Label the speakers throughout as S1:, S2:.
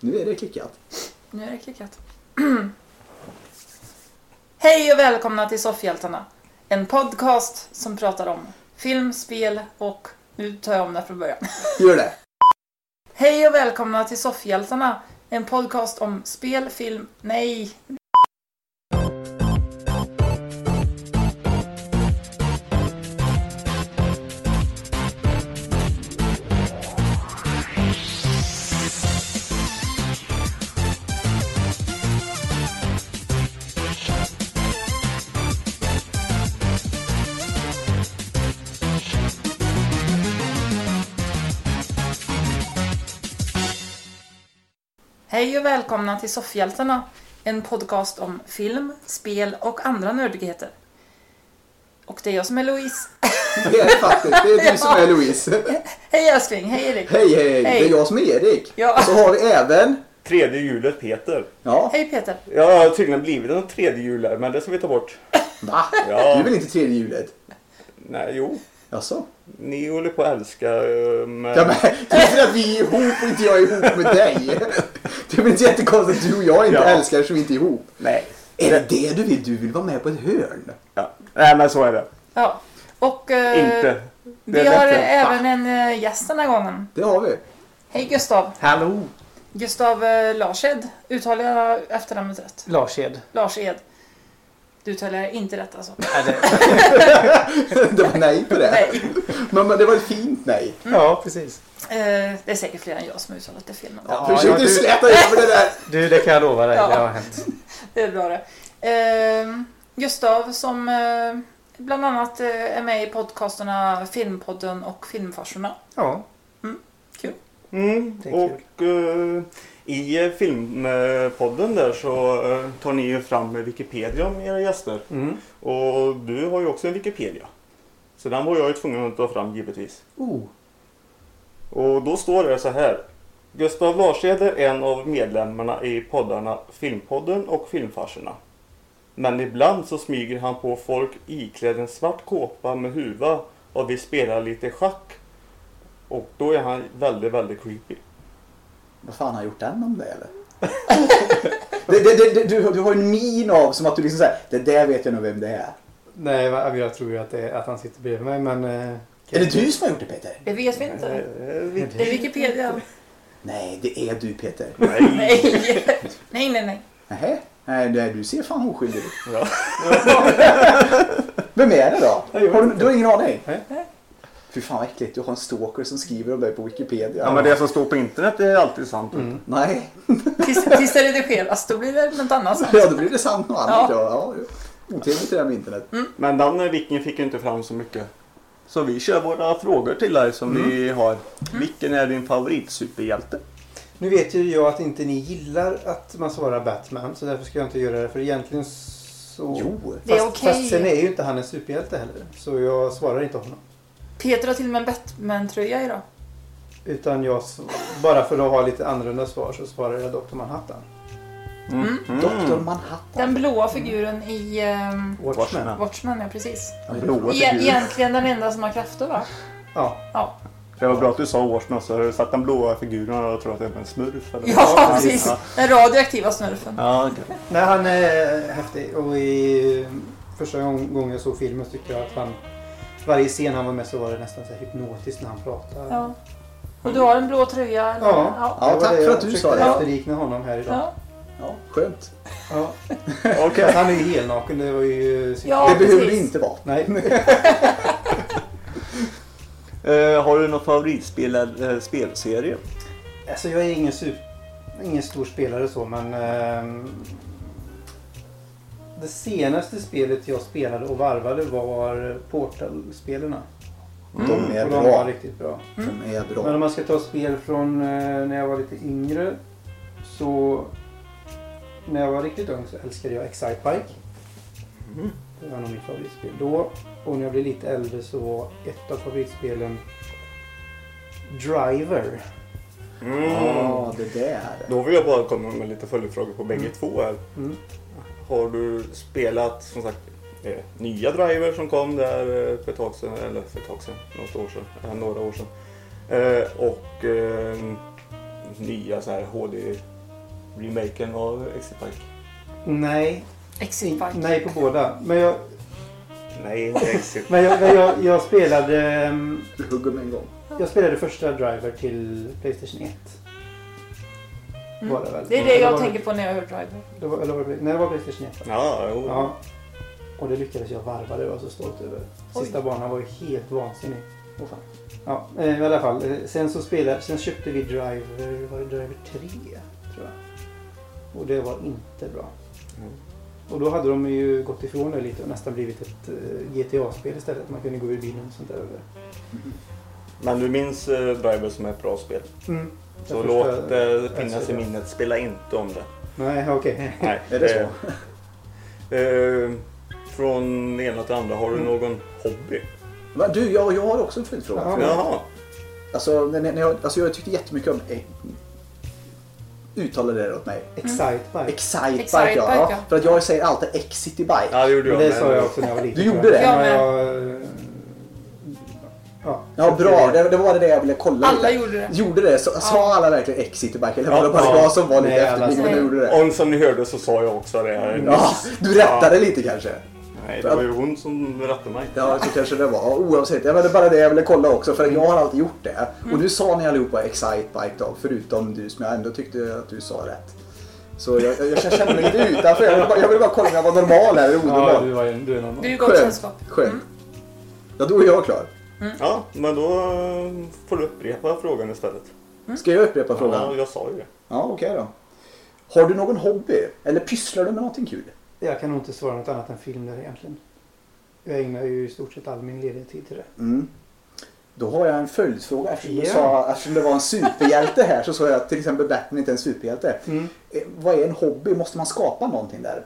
S1: Nu är det klickat.
S2: Nu är det klickat. Hej och välkomna till Soffhjältarna. En podcast som pratar om film, spel och... Nu tar jag om det från början.
S1: Gör det.
S2: Hej och välkomna till Soffhjältarna. En podcast om spel, film... Nej. Hej och välkomna till Soffhjältarna. En podcast om film, spel och andra nördigheter. Och det är jag som är Louise.
S1: Det är det faktiskt. Det är du som är Louise.
S2: Hej älskling, hej Erik.
S1: Hej, hej, hej. Det
S2: Hej.
S1: är jag som är Erik.
S2: Ja.
S1: Och så har vi även...
S3: Tredje hjulet Peter.
S1: Ja,
S2: Hej Peter.
S3: Ja, jag har tydligen blivit en tredje hjulare, men det ska vi ta bort.
S1: va?
S3: Ja.
S1: Du är väl inte tredje hjulet?
S3: Nej, jo.
S1: Jaså?
S3: Ni håller på att älska... ehm,
S1: Ja, men, det är för att vi är ihop och inte jag är ihop med dig. Det är väl inte jättekonstigt att du och jag inte
S3: Ja.
S1: älskar som inte är ihop.
S3: Nej.
S1: Är det det du vill? Du vill vara med på ett hörn?
S3: Ja. Nej, men så är det.
S2: Ja. Och... eh,
S3: Inte. Det
S2: Vi
S3: är
S2: har
S3: bättre.
S2: även en eh, gäst den här gången.
S1: Det har vi.
S2: Hej Gustav!
S4: Hallå,
S2: Gustav eh, Larsed. Uttalar jag efternamnet rätt?
S4: Larshed.
S2: Larsed. Du uttalar inte rätt alltså.
S4: Eller,
S1: Det var nej på det.
S2: Nej.
S1: Men, men det var ett fint nej.
S4: ja, precis.
S2: Eh, det är säkert fler än jag som har uttalat det fel. Ja.
S4: Ja,
S1: Försök
S4: ja,
S1: du
S4: du-
S1: släta över det där.
S4: Du, det kan jag lova dig.
S2: Ja.
S4: Det har hänt.
S2: Det är bra det. Eh, Gustav som eh, bland annat eh, är med i podcasterna Filmpodden och Filmfarsorna.
S4: Ja,
S3: Mm,
S4: Det är
S3: och eh, i eh, filmpodden där så eh, tar ni ju fram Wikipedia med era gäster. Och du har ju också en Wikipedia. Så den var jag ju tvungen att ta fram givetvis.
S4: Oh.
S3: Och då står det så här. Gustav Larshed är en av medlemmarna i poddarna Filmpodden och Filmfarserna. Men ibland så smyger han på folk iklädd en svart kåpa med huva och vi spelar lite schack. Och då är han väldigt, väldigt creepy.
S1: Vad fan har gjort den om det eller? det, det, det, det, du, du har en min av som att du liksom säger det där vet jag nog vem det är.
S4: Nej, va- jag tror ju att, det, är- att han sitter bredvid mig, men... eh,
S1: Är det du som har gjort det Peter?
S2: Det vet vi inte.
S3: Eh,
S2: Det är Wikipedia.
S1: Nej, det är du Peter.
S2: Nej. nej, nej, nej.
S1: Nähä? Nej, det, du ser fan oskyldig ut.
S3: Ja.
S1: Vem är det då?
S4: Jag vet
S1: Har du, du har ingen aning?
S4: Nej.
S1: Fy fan vad äckligt, du har en stalker som skriver om dig på Wikipedia.
S3: ja, men det som står på internet är alltid sant.
S1: Nej,
S2: Tills, tills det redigeras, då blir det något annat sen.
S1: ja, då blir det sant något annat.
S2: Ja. Mm.
S1: Ja. Ja, Otrevligt det där med internet.
S3: Men den eh, vicken fick ju inte fram så mycket. Mm. Så vi kör våra frågor till dig som vi har. Vilken är din favoritsuperhjälte?
S4: Nu vet ju jag att inte ni gillar att man svarar Batman, så därför ska jag inte göra det. För egentligen så...
S1: Jo.
S2: Det är
S4: Fast-
S2: okej.
S4: Fast sen är ju inte han en superhjälte heller, så jag svarar inte honom.
S2: Peter har till och med en Batman-tröja idag.
S4: Utan jag, sv- bara för att ha lite annorlunda svar, så svarar jag Dr. Manhattan.
S1: Dr Manhattan.
S2: Mm. Den blåa figuren i ehm,
S4: Watchmen.
S2: Watchmen, ja precis.
S1: Den
S3: blåa
S2: E egentligen den enda som har krafter va?
S4: Ja,
S2: Ja,
S3: Det var bra att du sa Washington så har du satt den blåa figuren och jag tror att det är en smurf. Eller?
S2: ja precis. Den radioaktiva snurfen.
S3: Ja, okej.
S4: Nej, han är häftig och i första gång- gången jag såg filmen så tyckte jag att han varje scen han var med så var det nästan så här hypnotiskt när han pratade.
S2: Ja. Och du har en blå tröja? Eller?
S4: Ja.
S2: ja.
S1: Ja,
S4: Det var
S1: tack
S4: det
S1: för
S4: jag
S1: att du
S4: försökte
S1: sa det.
S4: efterlikna honom här idag.
S2: Ja.
S1: Ja, skönt.
S4: Ja.
S3: Okej.
S4: Fast Han är ju helnaken, det var ju... synd.
S2: Ja.
S1: det behöver det
S2: precis.
S1: inte vara.
S4: Nej.
S3: Eh, har du någon favoritspel eller eh, spelserie?
S4: Alltså jag är ingen, super, ingen stor spelare så men... ehm, det senaste spelet jag spelade och varvade var Portal-spelarna.
S1: De är
S4: Mm. Och de var
S1: bra.
S4: riktigt bra.
S1: De är
S4: Men om
S1: bra.
S4: man ska ta spel från eh, när jag var lite yngre så när jag var riktigt ung så älskade jag Excitebike.
S3: Mm.
S4: Det var nog mitt favoritspel då. Och när jag blev lite äldre så var ett av favoritspelen Driver.
S3: Ah.
S1: Ja, det där.
S3: Då vill jag bara komma med lite följdfrågor på bägge två här.
S4: Mm.
S3: Har du spelat som sagt eh, nya driver som kom där eh, för ett tag sedan, eller för ett tag sedan, något år sedan, eh, några år sedan. Eh, och eh, nya så här HD-remaken av Exit Park?
S4: Nej,
S2: Exit Park.
S4: nej på båda. Men jag,
S3: Nej, inte Exit.
S4: men jag, men jag, jag spelade... ehm,
S1: Du hugger med en gång.
S4: Jag spelade första driver till Playstation 1.
S2: Mm.
S4: Var det, väl?
S2: Det är det
S4: Eller
S2: jag
S4: var
S2: tänker på när jag hör Driver.
S4: Det var, eller var det, nej, det var Playstation 1. va?
S3: ja, jo.
S4: Ja. Och det lyckades jag varva, det var jag så stolt över. Sista banan var ju helt vansinnig.
S1: Åh fan.
S4: Ja, eh, i alla fall. eh, Sen så spelade, sen köpte vi Driver, var det Driver 3? Tror jag. Och det var inte bra.
S3: Mm.
S4: Och då hade de ju gått ifrån det lite och nästan blivit ett eh, GTA-spel istället. Man kunde gå ur bilen och sånt där. Mm. över.
S3: Men du minns eh, Driver som ett bra spel?
S4: Mm.
S3: Så
S4: Jag
S3: låt
S4: förstår.
S1: eh,
S3: det finnas i
S4: förstår.
S3: minnet. Spela inte om det.
S4: Nej, okej.
S3: Nej,
S1: Är det så?
S3: Eh, från det ena till det andra, har du
S4: Mm.
S3: någon hobby?
S1: Men du, jag, jag har också en följdfråga.
S4: Ja.
S3: Jaha.
S1: Alltså, när, när jag, alltså, jag tyckte jättemycket om... Eh, uttala det åt mig.
S4: Excitebike.
S1: Excitebike,
S2: Excitebike,
S1: ja.
S2: ja.
S1: För att jag säger alltid Excitybike.
S3: Ja, det gjorde jag.
S4: Men det
S3: men-
S4: sa jag också när jag var liten.
S1: Du gjorde det?
S4: Ja, men...
S2: Jag
S4: jag, eh, ja,
S1: Ja, bra. Det, det var det jag ville kolla
S2: Alla
S1: lite.
S2: gjorde det.
S1: Gjorde det? Så, Sa
S2: Ja.
S1: alla verkligen Excitybike? Eller var
S3: Ja,
S1: det bara
S3: ja.
S1: jag som var lite
S4: Nej, alla
S1: efterbliven när
S2: sa-
S1: du gjorde det?
S3: Och som ni hörde så sa jag också det. här.
S4: Mm.
S1: Ja, du rättade lite kanske?
S3: Nej, det var ju hon som rättade mig.
S1: Ja, så kanske det var. Oavsett, det var det bara det jag ville kolla också för jag har alltid gjort det. Och nu sa ni allihopa Excitebike då, förutom du som jag ändå tyckte att du sa rätt. Så jag, jag, jag känner mig lite utanför. Jag ville bara, jag ville bara kolla om jag var normal här eller
S4: Ja, du,
S1: onormal.
S4: var, ju- du är någon
S2: Du är ju gott
S1: Skönt.
S2: sällskap.
S1: Skönt.
S2: Mm.
S1: Ja, då är jag klar.
S3: Ja, men då eh, får du upprepa frågan istället.
S1: Ska jag upprepa
S3: Ja,
S1: frågan?
S3: jag sa ju det.
S1: Ja, okej då. Har du någon hobby? Eller pysslar du med någonting kul?
S4: Jag kan nog inte svara något annat än film där egentligen. Jag ägnar ju i stort sett all min lediga tid till det.
S1: Mm. Då har jag en följdfråga. Eftersom, du
S4: Ja.
S1: sa, eftersom det var en superhjälte här så sa jag att till exempel Batman inte är en superhjälte.
S4: Mm.
S1: Eh, Vad är en hobby? Måste man skapa någonting där?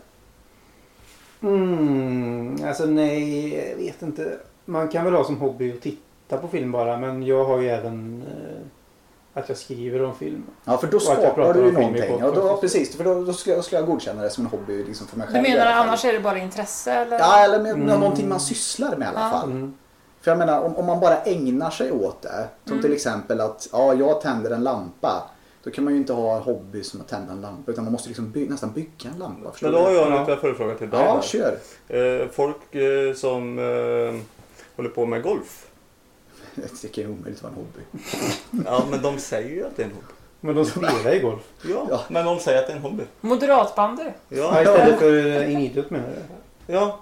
S4: Mm, alltså nej, jag vet inte. Man kan väl ha som hobby att titta på film bara men jag har ju även eh, att jag skriver om film.
S1: Ja, för då
S4: Och att jag
S1: skapar
S4: pratar
S1: du
S4: om
S1: ju
S4: film i
S1: någonting. Ja, då,
S4: podcast.
S1: precis, för då, då skulle jag, skulle jag godkänna det som en hobby liksom för mig
S2: Du
S1: själv. i
S2: menar
S1: alla fall.
S2: annars är det bara intresse eller?
S1: Ja, eller med, med
S4: Mm.
S1: någonting man sysslar med i alla
S2: Ja.
S1: fall.
S4: Mm.
S1: För jag menar, om, om man bara ägnar sig åt det. Som
S2: Mm.
S1: till exempel att, ja, jag tänder en lampa. Då kan man ju inte ha en hobby som att tända en lampa. Utan man måste liksom by- nästan bygga en lampa. Förstår
S3: Men då har
S1: du?
S3: jag en
S4: Ja.
S3: liten följdfråga till dig.
S1: Ja,
S3: här.
S1: kör.
S3: Eh, folk eh, som eh, håller på med golf.
S1: Det kan ju omöjligt vara en hobby.
S3: Ja, men de säger ju att det är en hobby.
S4: Men de spelar ju golf.
S3: Ja,
S1: Ja.
S3: men de säger att det är en hobby.
S2: Moderatbander.
S4: Ja,
S3: Ja,
S4: istället för en idrott menar du?
S3: ja.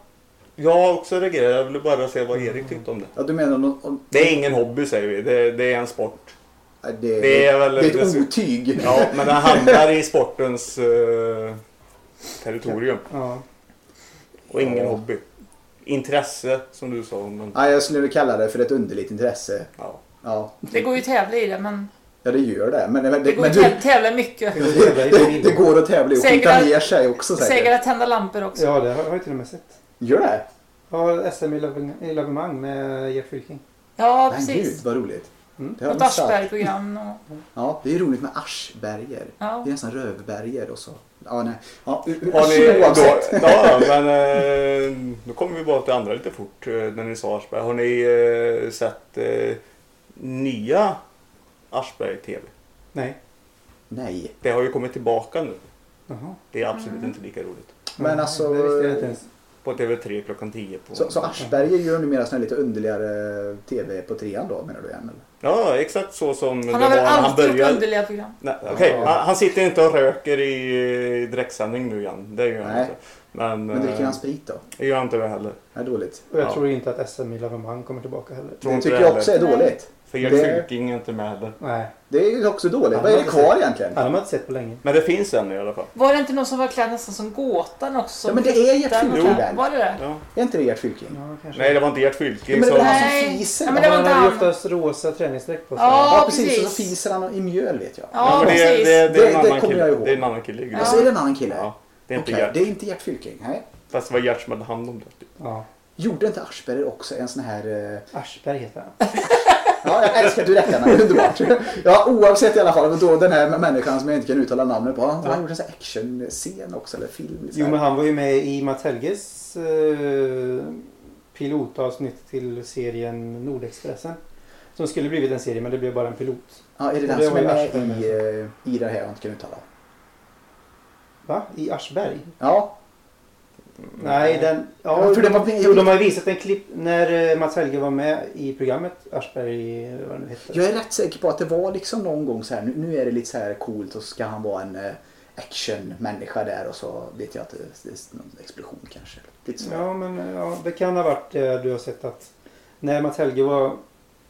S3: Jag har också reagerat. Jag ville bara se vad Erik tyckte om det.
S1: Ja, du menar om, om,
S3: Det är ingen hobby säger vi. Det, det är en sport.
S1: Nej, det,
S3: Det är väl-
S1: det är ett
S3: det-
S1: otyg.
S3: Ja, men den hamnar i sportens eh, territorium.
S4: Ja.
S3: Och ingen
S1: Ja.
S3: hobby. Intresse, som du sa. Men,
S1: Ja, jag skulle kalla det för ett underligt intresse.
S3: ja.
S1: Ja,
S2: Det går ju att tävla i det men
S1: ja det gör det. Men, men,
S2: det går
S1: men
S2: ju
S1: du,
S2: att tävla mycket.
S4: Jag spelar i
S1: det,
S4: film.
S1: det går att tävla i och skjuta
S2: Segrar-
S1: ner sig också
S2: Säger
S1: säkert.
S2: att tända lampor också.
S4: Ja, det har har jag till och med sett.
S1: Gör det?
S4: Ja, SM i lavemang- i lavemang med Gert Fylking.
S2: Ja,
S1: Men gud
S2: precis.
S1: vad roligt.
S4: Mm.
S1: Det har jag
S2: Något
S1: missat.
S2: Aschberg-program och...
S1: Ja, det är roligt med aschberger.
S2: Ja.
S1: Det är nästan rövberger och så. Ja, nej. Ja, u- u-
S3: Har ni,
S1: oavsett.
S3: då, ja, men eh, då kommer vi bara till andra lite fort eh, när ni sa Aschberg. Har ni eh, sett eh, nya Aschberg-TV?
S4: Nej.
S1: Nej,
S3: Det har ju kommit tillbaka nu.
S4: Jaha.
S3: Det är absolut
S2: Mm.
S3: inte lika roligt.
S1: men
S4: Ja,
S1: alltså.
S4: Det visste jag inte ens.
S3: På TV3 klockan 10 på...
S1: Så, så Aschberger gör numera sån här lite underligare TV på trean då menar du igen? Eller?
S3: Ja, exakt så som
S2: Han har
S3: det
S2: väl
S3: var när han
S2: alltid gjort
S3: började.
S2: underliga program.
S3: Nej, okej.
S4: Ja.
S3: han, han sitter inte och röker i eh, direktsändning nu igen. Det gör han
S1: Nej.
S3: inte. Men,
S1: Men dricker
S3: eh,
S1: han sprit då?
S3: det gör han inte det heller.
S1: Det är dåligt.
S4: Och jag
S3: Ja.
S4: tror inte att SM i lavemang kommer tillbaka heller.
S3: Tror
S1: Det
S3: inte
S1: tycker
S3: det
S1: jag också är
S2: heller.
S1: dåligt.
S3: För Erik
S1: Det-
S3: Fylking är inte med heller.
S4: Nej.
S1: Det är ju också dåligt.
S4: Ja,
S1: Vad är
S4: men
S1: det
S4: det-
S1: kvar egentligen?
S4: Ja, de har jag inte sett på länge.
S3: Men det finns en i alla fall.
S2: Var det inte någon som var klädd nästan som gåtan också?
S1: Ja, men det är ju Gert
S2: Där var
S1: Fylking
S2: det-
S1: där.
S2: Var det det?
S3: Ja.
S1: Är inte det Gert Fylking?
S4: Ja, kanske.
S3: Nej, det var inte Gert Fylking
S1: Men det
S3: som...
S1: här-
S2: Nej.
S1: fiser.
S2: Ja, men det var
S4: han
S2: inte
S4: hade ju
S2: han.
S4: oftast rosa träningsdräkt på sig.
S2: Ja,
S1: Ja precis,
S2: precis.
S1: och så fiser han i mjöl vet jag.
S2: Ja,
S3: men det,
S2: precis.
S3: det, det, är
S1: Det-
S3: en
S1: det
S3: annan
S1: kommer jag
S3: kille.
S1: ihåg.
S3: det är en annan kille. i
S1: Och
S2: Ja.
S1: så är det en annan kille.
S3: Ja, det är inte
S1: Okej,
S3: Gert.
S1: det är inte Gert Fylking. Nej.
S3: Fast det var Gert som hade hand om det.
S4: Ja.
S1: Gjorde inte Aschberger också en sån här... eh,
S4: Aschberg heter han.
S1: Ja, jag älskar att du rättar namn, underbart. Ja, oavsett i alla fall. Då den här människan som jag inte kan uttala namnet på. Han, han gjorde en sån här actionscen också, eller film. så
S4: Jo,
S1: här.
S4: men han var ju med i Mats Helges eh, pilotavsnitt till serien Nordexpressen. Som skulle blivit en serie men det blev bara en pilot.
S1: Ja, är det
S4: Det
S1: den
S4: var
S1: som är
S4: ju
S1: med
S4: värsta
S1: i, eh, i det här jag inte kan uttala?
S4: Va? I Aschberg?
S1: Ja,
S4: Mm. Nej, den... Ja,
S1: Jag tror det
S4: de,
S1: var-
S4: jo, de har visat en klipp när eh, Mats Helge var med i programmet Aschberg, eh, vad det nu hette.
S1: jag är rätt säker på att det var liksom någon gång så här. Nu, nu är det lite så här coolt och så ska han vara en eh, actionmänniska där och så vet jag att det, det är någon explosion kanske. Lite så.
S4: Ja, men eh, ja, det kan ha varit eh, du har sett att när Mats Helge var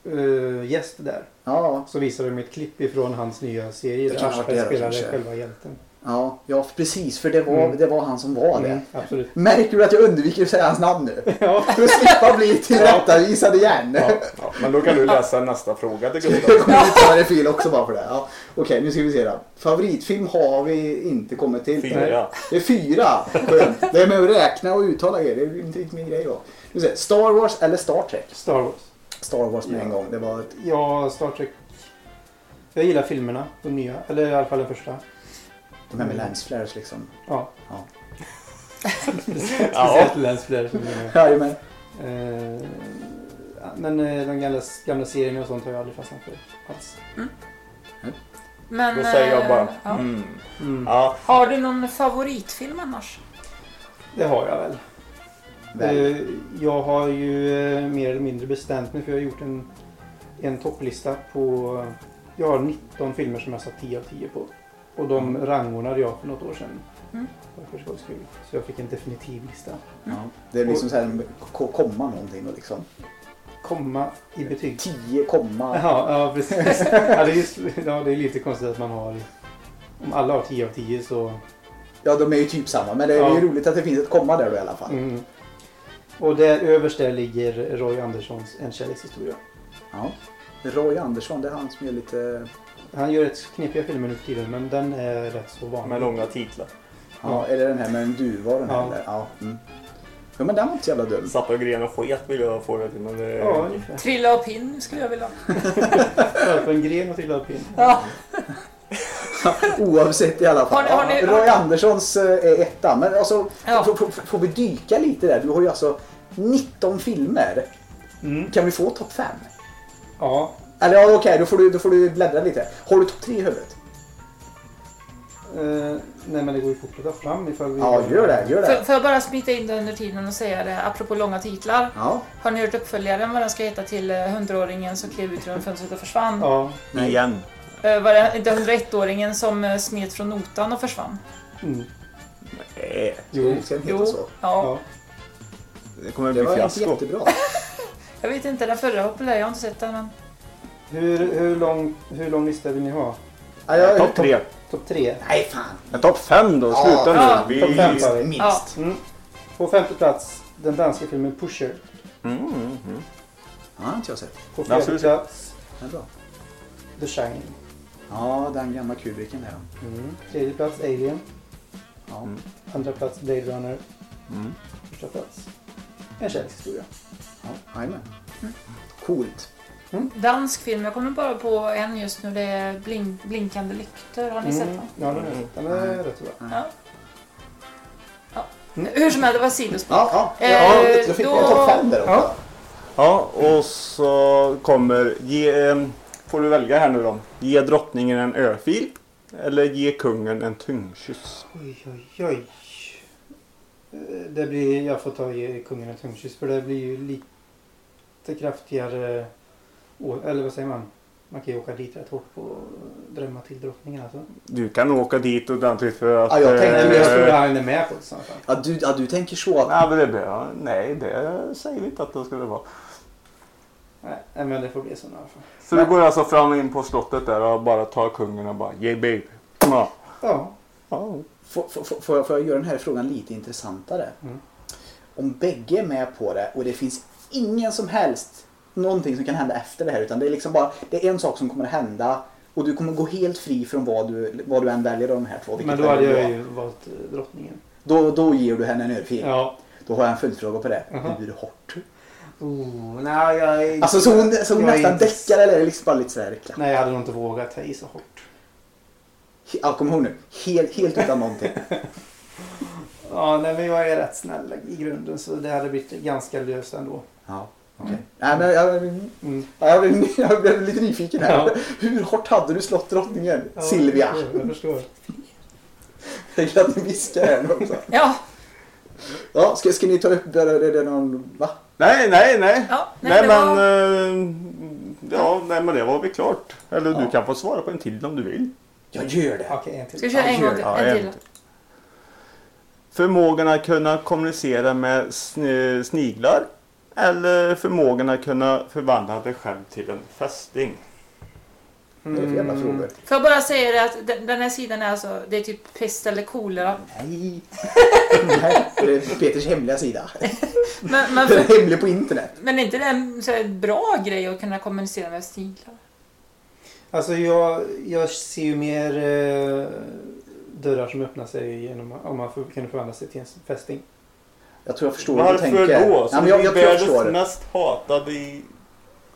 S4: eh, gäst där
S1: Ja,
S4: så visade de ett klipp ifrån hans nya serie
S1: Det
S4: där
S1: kanske
S4: Aschberg
S1: var det då,
S4: spelade
S1: kanske.
S4: själva hjälten.
S1: ja, ja precis för det var,
S4: Mm.
S1: det var han som var det.
S4: Mm, absolut.
S1: Märker du att jag undviker att säga hans namn nu?
S4: Ja.
S1: För att slippa bli tillrättavisad igen.
S3: Ja, ja, men då kan du läsa nästa fråga till Gustav.
S1: Jag kommer inte ta det fel också bara för det. Ja. Okej, nu ska vi se då. Favoritfilm har vi inte kommit till.
S3: Fyra.
S1: Det är fyra. Skönt. Det är med att räkna och uttala grejer. Det är inte riktigt min grej då. Nu ska vi se. Star Wars eller Star Trek?
S4: Star Wars.
S1: Star Wars med en gång. Det var ett...
S4: Ja, Star Trek. Jag gillar filmerna, de nya. Eller i alla fall den första.
S1: De
S4: Mm.
S1: här med lensflares liksom.
S4: Ja.
S1: Ja.
S4: Speciellt Lance Flair som är med.
S1: Jajamän.
S4: Eh, ja, Men eh, de gamla, gamla serierna och sånt har jag aldrig fastnat för alls.
S2: Men,
S3: Då säger jag
S2: eh,
S3: bara
S2: ja.
S3: mm.
S4: Mm.
S3: Ja,
S2: Har du någon favoritfilm annars?
S4: Det har jag väl.
S1: Väl.
S4: Eh, Jag har ju eh, mer eller mindre bestämt mig för jag har gjort en, en topplista på... Jag har 19 filmer som jag satt 10 av 10 på. Och de rangordnade jag för något år sedan.
S2: Mm.
S4: För skojs skull. Så jag fick en definitiv lista.
S1: Ja. Det är liksom så här k- komma någonting och liksom.
S4: Komma i betyg.
S1: Tio komma.
S4: Ja, ja precis. ja, det är just, ja, det är lite konstigt att man har... Om alla har 10 av 10 så...
S1: Ja, de är ju typ samma. Men det är
S4: Ja.
S1: ju roligt att det finns ett komma där då i alla fall.
S4: Mm. Och där överst där ligger Roy Anderssons En kärlekshistoria.
S1: Ja. Roy Andersson, det är han som är lite...
S4: Han gör rätt knepiga filmer nu för tiden men den är rätt så vanlig.
S3: med långa titlar.
S1: Ja, är det den här med en duva den här
S4: Ja.
S1: eller? Ja. Mm. ja, men den var inte så jävla dum.
S3: Satt och gren och sket vill jag få det till, men det...
S4: Ja, ungefär.
S2: Trilla och pinn skulle jag vilja ha.
S4: Föll på en gren och trillade upp in.
S2: Ja.
S1: Oavsett i alla fall.
S2: Har ni- har ni-
S1: Roy Anderssons eh, är etta. Men alltså,
S2: Ja.
S1: får, får, får vi dyka lite där? Du har ju alltså 19 filmer.
S4: Mm.
S1: Kan vi få topp 5?
S4: Ja,
S1: Eller ja, okej, då, får du, då får du bläddra lite. Har du topp 3 i huvudet?
S4: eh, nej men det går ju fort att ta fram ifall vi...
S1: Ja, gör det. Gör
S2: Får-
S1: det.
S2: Får jag bara smita in det under tiden och säga det, apropå långa titlar.
S1: Ja.
S2: Har ni hört uppföljaren vad den ska heta till eh, 100-åringen som klev ut genom fönstret och försvann?
S4: Ja.
S5: Igen.
S2: Eh, Var det inte 101-åringen som eh, smet från notan och försvann?
S4: Mm.
S5: Nej,
S4: Jo.
S1: Ska den heta så?
S2: Ja.
S4: Ja.
S5: det kommer
S1: Det
S5: bli
S1: var inte
S5: fiasko.
S1: jättebra.
S2: Jag vet inte, den förra var populär, jag har inte sett den men...
S4: Hur, hur, lång, hur lång lista vill ni ha?
S1: Ja, jag-
S5: Topp tre.
S4: Topp tre?
S1: Nej, fan.
S5: Men topp fem då,
S1: Ja.
S5: sluta
S2: Ja.
S5: nu.
S4: Topp
S5: Vi...
S4: fem tar vi.
S1: Minst.
S2: Ja.
S4: Mm. På femte plats den danska filmen Pusher.
S5: Mm, mm, mm.
S1: Ja, har inte jag sett.
S4: På
S5: Ja,
S4: fjärde
S5: absolut.
S4: plats
S1: Den är bra.
S4: The Shining.
S1: Ja, den gamla kubriken där.
S4: Mm. Tredje plats Alien.
S1: Ja.
S5: Mm.
S4: Andra plats Blade Runner.
S5: Mm.
S4: Första plats En kärlekshistoria.
S1: Ja, jajamän. Coolt.
S2: Dansk film, jag kommer bara på en just nu, det är Blink- Blinkande lyktor. Har ni
S4: Mm.
S2: sett den?
S4: Ja, den har jag sett. Den är
S1: Mm.
S4: rätt så bra.
S2: Ja. ja. Hur som helst, det var sidospår.
S1: Ja, ja.
S2: Eh,
S1: ja då fick
S2: då-
S1: jag topp fem där också.
S4: Ja.
S5: Ja, och så kommer... Ge, en- får du välja här nu då. Ge drottningen en örfil. Eller ge kungen en tungkyss.
S4: Oj, oj, oj. Eh, Det blir, jag får ta i kungen en tungkyss för det blir ju lite kraftigare. å- Eller vad säger man? Man kan ju åka dit rätt hårt på att drämma till drottningen alltså.
S5: Du kan åka dit ordentligt för att...
S1: Ja, jag tänkte-
S4: Nej, men jag tror
S5: eh,
S4: han är med på det i så fall.
S1: Ja, du, ja, du tänker så.
S5: Nej, men det blir, nej, det säger vi inte att det skulle vara.
S4: Nej, nej, men det får bli så i alla fall.
S5: Så du går alltså fram in på slottet där och bara tar kungen och bara yeah babe. Ja.
S4: Ja.
S5: Ja.
S1: Får, får, får, får jag- får jag göra den här frågan lite intressantare?
S4: Mm.
S1: Om bägge är med på det och det finns ingen som helst någonting som kan hända efter det här utan det är liksom bara det är en sak som kommer att hända och du kommer gå helt fri från vad du, vad du än väljer av de här två. vilket
S4: Men då hade
S1: väljer
S4: jag
S1: du?
S4: ju valt eh, drottningen.
S1: då, då ger du henne en örfil.
S4: Ja.
S1: Då har jag en följdfråga på det.
S4: Jaha.
S1: Hur hårt?
S4: Oh, nej, jag är...
S1: Alltså så hon, så hon
S4: jag är
S1: nästan
S4: inte-
S1: däckar eller är det liksom bara lite sådär klapp?
S4: Nej, jag hade nog inte vågat ta i så hårt.
S1: Ja, kom ihåg nu. Helt, helt utan någonting.
S4: Ja, nej, men jag är rätt snäll i grunden så det hade blivit ganska löst ändå.
S1: Ja. Okej. Nej, men jag,
S4: Mm.
S1: ja, jag, blev, jag blev lite nyfiken här.
S4: Ja.
S1: Hur hårt hade du slått drottningen? Silvia.
S4: Jag förstår. Jag förstår.
S1: Jag gillar att ni viskar här nu också.
S2: Ja,
S1: Ja, ska, ska ni ta upp, är det, är det någon, va?
S5: Nej, nej, nej.
S2: ja.
S5: Nej,
S2: det
S5: men...
S2: var-
S5: eh, ja, nej, men det var väl klart. Eller
S1: Ja.
S5: du kan få svara på en till om du vill.
S1: Jag gör det.
S4: Okej, en till.
S2: Ska vi köra en gång till?
S5: Ja,
S2: En
S5: en
S2: till.
S5: Förmågan att kunna kommunicera med sn- sniglar. Eller förmågan att kunna förvandla dig själv till en fästing.
S1: Vad är Mm. det för jävla
S4: Mm.
S1: frågor?
S2: Får jag bara säga det att den den här sidan är alltså, det är typ pest eller kolera.
S1: Nej. Nej, det är Peters hemliga sida.
S2: Men, men,
S1: Den är hemlig på internet.
S2: men är inte det en så här, bra grej att kunna kommunicera med sniglar?
S4: Alltså jag, jag ser ju mer eh, dörrar som öppnar sig genom om man för, kan förvandla sig till en fästing.
S1: Jag tror jag förstår vad du tänker.
S3: Varför då?
S1: Ja,
S3: Som
S1: men jag,
S3: är
S1: jag, tror jag förstår.
S3: världens mest hatade i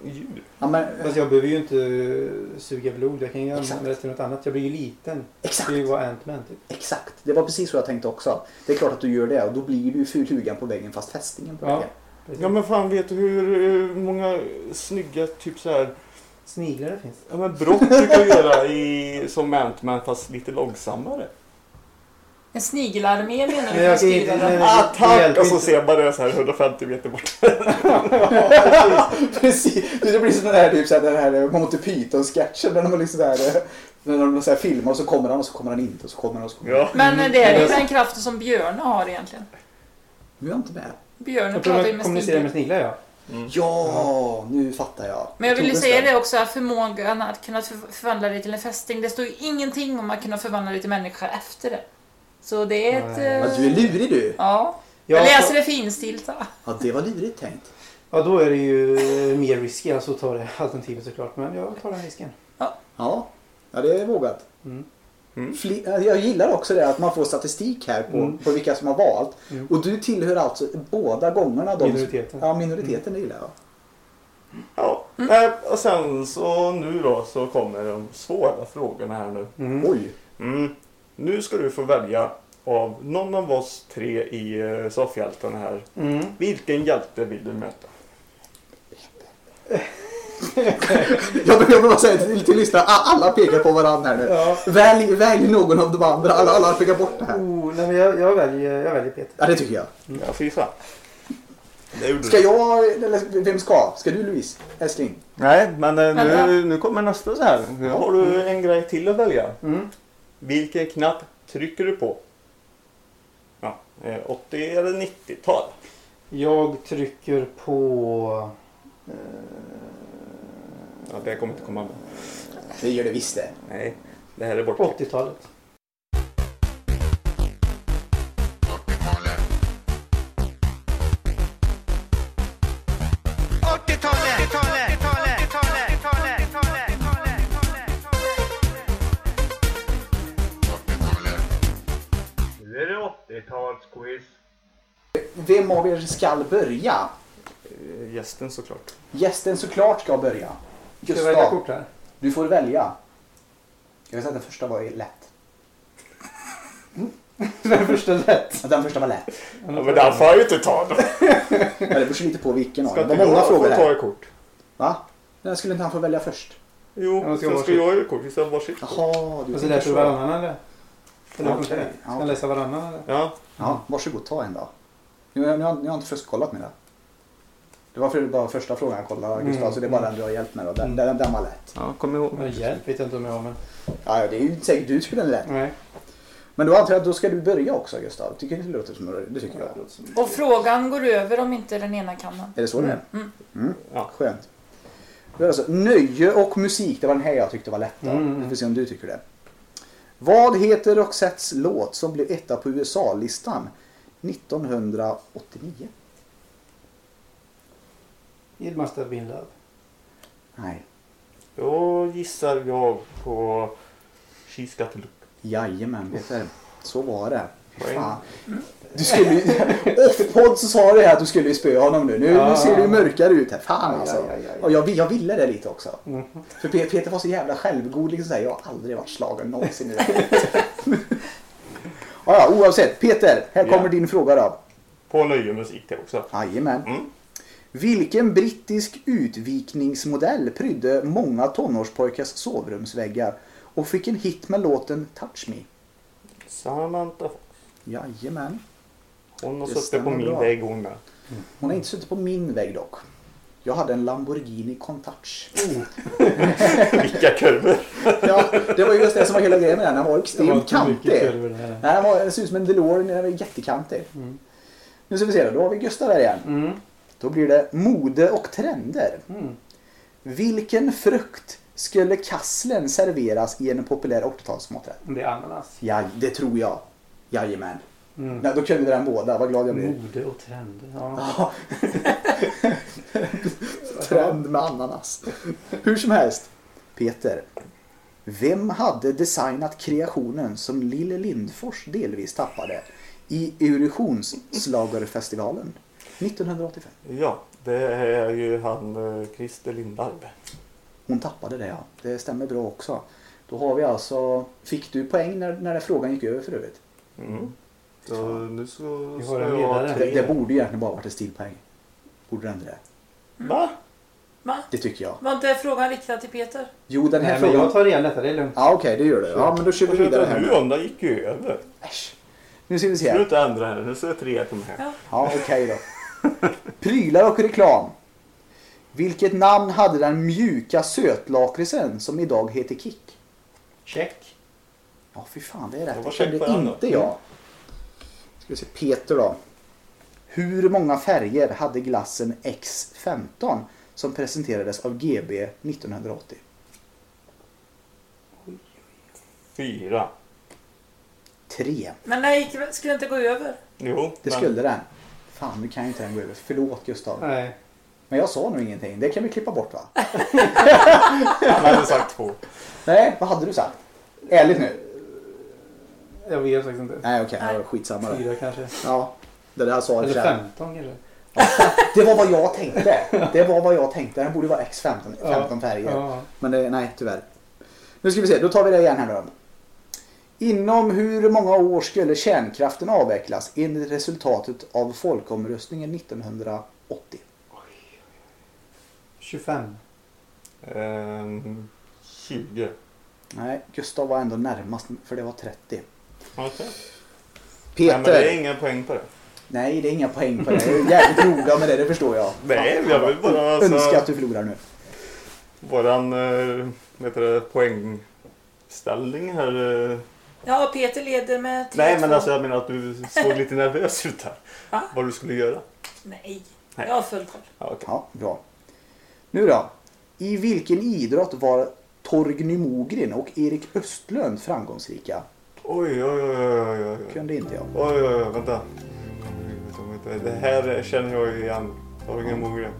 S3: djur.
S1: Ja, men,
S4: Fast jag behöver ju inte eh, suga blod. Jag kan ju
S1: Exakt.
S4: använda det till något annat. Jag blir ju liten.
S1: exakt.
S4: Det är ju vad Ant-Man typ.
S1: Exakt, det var precis så jag tänkte också. Det är klart att du gör det och då blir du fulhugan på väggen fast fästingen på
S4: Ja.
S1: väggen.
S4: Precis.
S3: Ja men fan vet du hur eh, många snygga typ så här
S4: Sniglar det finns.
S3: ja, men brott du kan göra i, som Ant-Man fast lite långsammare?
S2: En snigelarmé menar
S4: Nej, jag
S2: du?
S4: ska inte- nej,
S2: Snigelarmé.
S4: nej. det
S3: Attack!
S4: hjälper
S3: Och så
S4: inte.
S3: ser man det så här 150 meter bort.
S1: precis, det blir som den här, typ, så här, den här Monty Python-sketchen när de, liksom så här, eh, när de så här filmar och så kommer han och så kommer han inte och så kommer han och så kommer han.
S3: Ja.
S2: Men eh, det är ju den kraften som björn har egentligen.
S1: Nu är jag inte med.
S2: Björnen
S4: Jag tror
S2: pratar ju
S4: man
S2: med
S4: kommunicerar
S2: sniglar.
S4: med sniglar ja.
S1: Ja, nu fattar jag.
S2: Men jag
S1: tog
S2: ville
S1: en
S2: säga
S1: stund.
S2: det också, att förmågan att kunna förv- förvandla dig till en fästing. Det står ju ingenting om att kunna förvandla dig till människa efter det. Så det är ett... eh,
S4: Nej.
S1: Ja, du Alltså, är lurig du.
S2: Ja.
S4: Ja,
S2: Jag
S4: så-
S2: läser det finstilta.
S1: Ja, det var lurigt tänkt.
S4: Ja, då är det ju eh, mer risky alltså att ta det alternativet såklart. Men jag tar den risken.
S1: Ja, ja det är vågat.
S4: Mm.
S3: Mm.
S1: Fli- Jag gillar också det att man får statistik här på,
S4: Mm.
S1: på vilka som har valt.
S4: Mm.
S1: Och du tillhör alltså båda gångerna de
S4: Minoriteten.
S1: Ja, minoriteten det gillar jag.
S3: Ja. Nej, och sen så nu då så kommer de svåra frågorna här nu.
S4: Mm.
S1: Oj!
S3: Mm. Nu ska du få välja av någon av oss tre i eh, soffhjältarna här.
S4: Mm.
S3: Vilken hjälte vill du möta?
S1: Jag behöver bara säga till, till lyssnarna, a- alla pekar på varandra här nu.
S4: Ja.
S1: Välj, välj någon av de andra, alla, alla pekar bort det här.
S4: Oh, nej, men jag, jag, väljer, jag väljer Peter.
S1: Ja, det tycker jag.
S3: Ja, fy fan. Det gjorde
S1: Ska
S3: du.
S1: jag, eller vem ska? Ska du Louise? Älskling?
S5: Nej, men eh,
S2: Vänta.
S5: nu, nu kommer nästa så här. Nu
S3: Då
S5: har
S3: har du
S1: Mm.
S3: en grej till att välja.
S4: Mm.
S3: Vilken knapp trycker du på? Ja, eh, 80 eller 90-tal?
S4: Jag trycker på... eh,
S3: Ja, det kommer inte komma med.
S1: Det gör det visst det.
S3: Nej, det här är borta.
S4: 80-talet.
S6: Nu är det 80-talsquiz.
S1: Vem av er skall börja?
S3: Eh, Gästen såklart.
S1: Gästen såklart ska börja.
S4: Ska jag välja
S1: Gustav,
S4: kort här?
S1: du får välja. Jag vill säga att den första var lätt.
S4: Den första rätt.
S1: Att den första var lätt.
S3: Ja, men den får jag ju inte ta då.
S1: Ja, det beror lite på vilken av
S3: Ska
S1: dem.
S3: inte
S1: Det var många
S3: jag
S1: frågor
S3: få ta
S1: där.
S3: ett kort?
S1: Va? Den skulle inte han få välja först?
S3: Jo,
S4: Ja,
S3: ja, ska,
S4: ska
S3: ska
S4: jag varsitt?
S3: jag göra kort? Vi ska ha varsitt.
S1: Jaha, du
S4: Och
S1: tänker
S4: så läser du varannan eller? Eller
S1: Ja,
S4: vad funkar det?
S1: okej. Ja,
S4: Ska jag
S1: okej.
S4: läsa varannan eller?
S3: Ja,
S1: Ja, varsågod, ta en då. Nu, nu, har- nu har jag inte fuskkollat med det. Det var för, bara första frågan jag kollade, Gustav,
S4: Mm,
S1: så det är bara den du har hjälpt med. Då. Den, den, den var lätt.
S5: Ja, kom ihåg.
S4: Men hjälp vet jag inte om jag har men...
S1: Ja, ja, det är ju inte säkert du skulle den lätt.
S4: Nej.
S1: Men då antar jag att då ska du börja också, Gustav. Tycker du det låter som det? tycker jag.
S2: Och frågan går över om inte den ena kan den.
S1: Är det så det är?
S2: Mm.
S1: Mm.
S3: Ja.
S1: Skönt. Det är alltså, nöje och musik, det var den här jag tyckte var lätt. då.
S4: Mm.
S1: Vi får se om du tycker det. Vad heter Roxettes låt som blev etta på USA-listan 1989?
S4: It must have been love.
S1: Nej,
S3: då gissar jag på She's got a look.
S1: Jajamän Peter. Så var det.
S3: Poäng.
S1: Fan. Du skulle ju... Off-podd så sa du här att du skulle ju spöa honom nu. Nu, nu
S4: Ja.
S1: ser det ju mörkare ut här. Fan
S4: Ja,
S1: alltså.
S4: ja, ja, ja.
S1: Och jag, jag ville det lite också.
S4: Mm.
S1: För Pe- Peter var så jävla självgod. Liksom så här, jag har aldrig varit slagen någonsin i det här. ja, ja, oavsett. Peter, här
S3: Ja.
S1: kommer din fråga då.
S3: På nöje musik det också.
S1: Jajamän.
S3: Mm.
S1: Vilken brittisk utvikningsmodell prydde många tonårspojkars sovrumsväggar och fick en hit med låten Touch Me?
S3: Samantha Fox.
S1: Jajamän.
S3: Hon har
S1: Det
S3: suttit på
S1: stämmer
S3: min
S1: bra.
S3: vägg hon med.
S1: Hon har inte suttit på min vägg dock. Jag hade en Lamborghini Contouch.
S4: Mm.
S3: Vilka kurvor!
S1: Ja, det var ju just det som var hela grejen med den. Den var
S4: Det var
S1: extremt
S4: inte mycket
S1: kantig.
S4: kurvor där.
S1: Nej, den, var, den ser ut som en DeLorean. Den var jättekantig. Nu ska vi se då. Då har vi Gustav här igen.
S4: Mm.
S1: Då blir det mode och trender.
S4: Mm.
S1: Vilken frukt skulle kasslen serveras i en populär 80-talsmaträtt?
S4: Det är ananas.
S1: Ja, det tror jag. Jajamän.
S4: Mm.
S1: Nej, då kunde vi den båda. Vad glad jag blir.
S4: Mode och trender. Ja.
S1: Ja. Trend med ananas. Hur som helst. Peter. Vem hade designat kreationen som Lille Lindfors delvis tappade i Eurovisionsschlagerfestivalen 1985?
S3: Ja, det är ju han eh, Christer Lindarw.
S1: Hon tappade det ja. Det stämmer bra också. Då har vi alltså... Fick du poäng när, när frågan gick över för övrigt?
S3: Mm.
S5: Så nu så
S4: Vi
S5: ska
S4: har en
S5: jag ha
S4: ledare.
S5: tre.
S1: Det, det borde ju egentligen bara varit en stilpoäng. Borde det inte det?
S3: Va?
S2: Va?
S1: Det tycker jag.
S2: Var inte frågan riktad till Peter?
S1: Jo, den här
S4: Nej, men
S1: frågan...
S4: jag tar igen detta, det är lugnt.
S1: Ja, okej, det gör du. Ja, men då kör vi
S3: Vad pratar
S1: vidare här
S3: du
S1: nu.
S3: om? Det gick ju över.
S1: Äsch. Nu ska vi
S3: Nu
S1: se.
S3: inte ändra här. Nu ser tre på mig.
S2: Ja.
S1: Ja, okej då. Prylar och reklam. Vilket namn hade den mjuka sötlakritsen som idag heter Kick?
S4: Check.
S1: Ja, fy fan, det är
S3: Jag
S1: rätt.
S3: var
S1: Det
S3: säker
S1: kände
S3: på den då.
S1: inte jag. Ska vi se, Peter då. Hur många färger hade glassen X15 som presenterades av GB 1980?
S3: Fyra.
S1: Tre.
S2: Men nej, gick det- skulle det inte gå över?
S3: Jo,
S1: Det
S3: men-
S1: skulle den. Fan, nu kan jag inte den gå över. Förlåt Gustav.
S4: Nej.
S1: Men jag sa nog ingenting. Det kan vi klippa bort va?
S3: Han hade sagt två.
S1: Nej, vad hade du sagt? Ärligt nu.
S4: Jag vet faktiskt inte.
S1: Nej okej,
S2: Nej.
S1: okay, skitsamma då.
S4: Fyra kanske.
S1: Ja, det där sa jag
S4: Eller
S1: själv.
S4: 15 kanske.
S1: Det var vad jag tänkte. Det var vad jag tänkte. Den borde vara X15 15 färger.
S4: Ja.
S1: Men det, nej, tyvärr. Nu ska vi se, då tar vi det igen här nu då. Inom hur många år skulle kärnkraften avvecklas enligt resultatet av folkomröstningen 1980?
S4: 25.
S3: Ehm, 20.
S1: Nej, Gustav var ändå närmast för det var 30.
S3: Okej. Nej,
S1: Peter!
S3: men det är inga poäng på det.
S1: Nej, det är inga poäng på det. Jag är jävligt noga med det, det förstår jag.
S3: Nej, jag vill bara alltså,
S1: Önskar att du förlorar nu.
S3: Våran eh, vad heter det, poängställning här. eh.
S2: Ja, Peter leder med 3-2.
S3: Nej, men alltså jag menar att du såg lite nervös ut här.
S2: Va?
S3: Vad du skulle göra.
S2: Nej,
S3: Nej.
S2: jag har full koll.
S3: Ja, okej.
S1: Ja, bra. Nu då. I vilken idrott var Torgny Mogren och Erik Östlund framgångsrika?
S3: Oj, oj, oj, oj, oj, oj.
S1: Kunde inte jag.
S3: Oj, oj, oj, vänta. Det här känner jag ju igen. Torgny Mogren.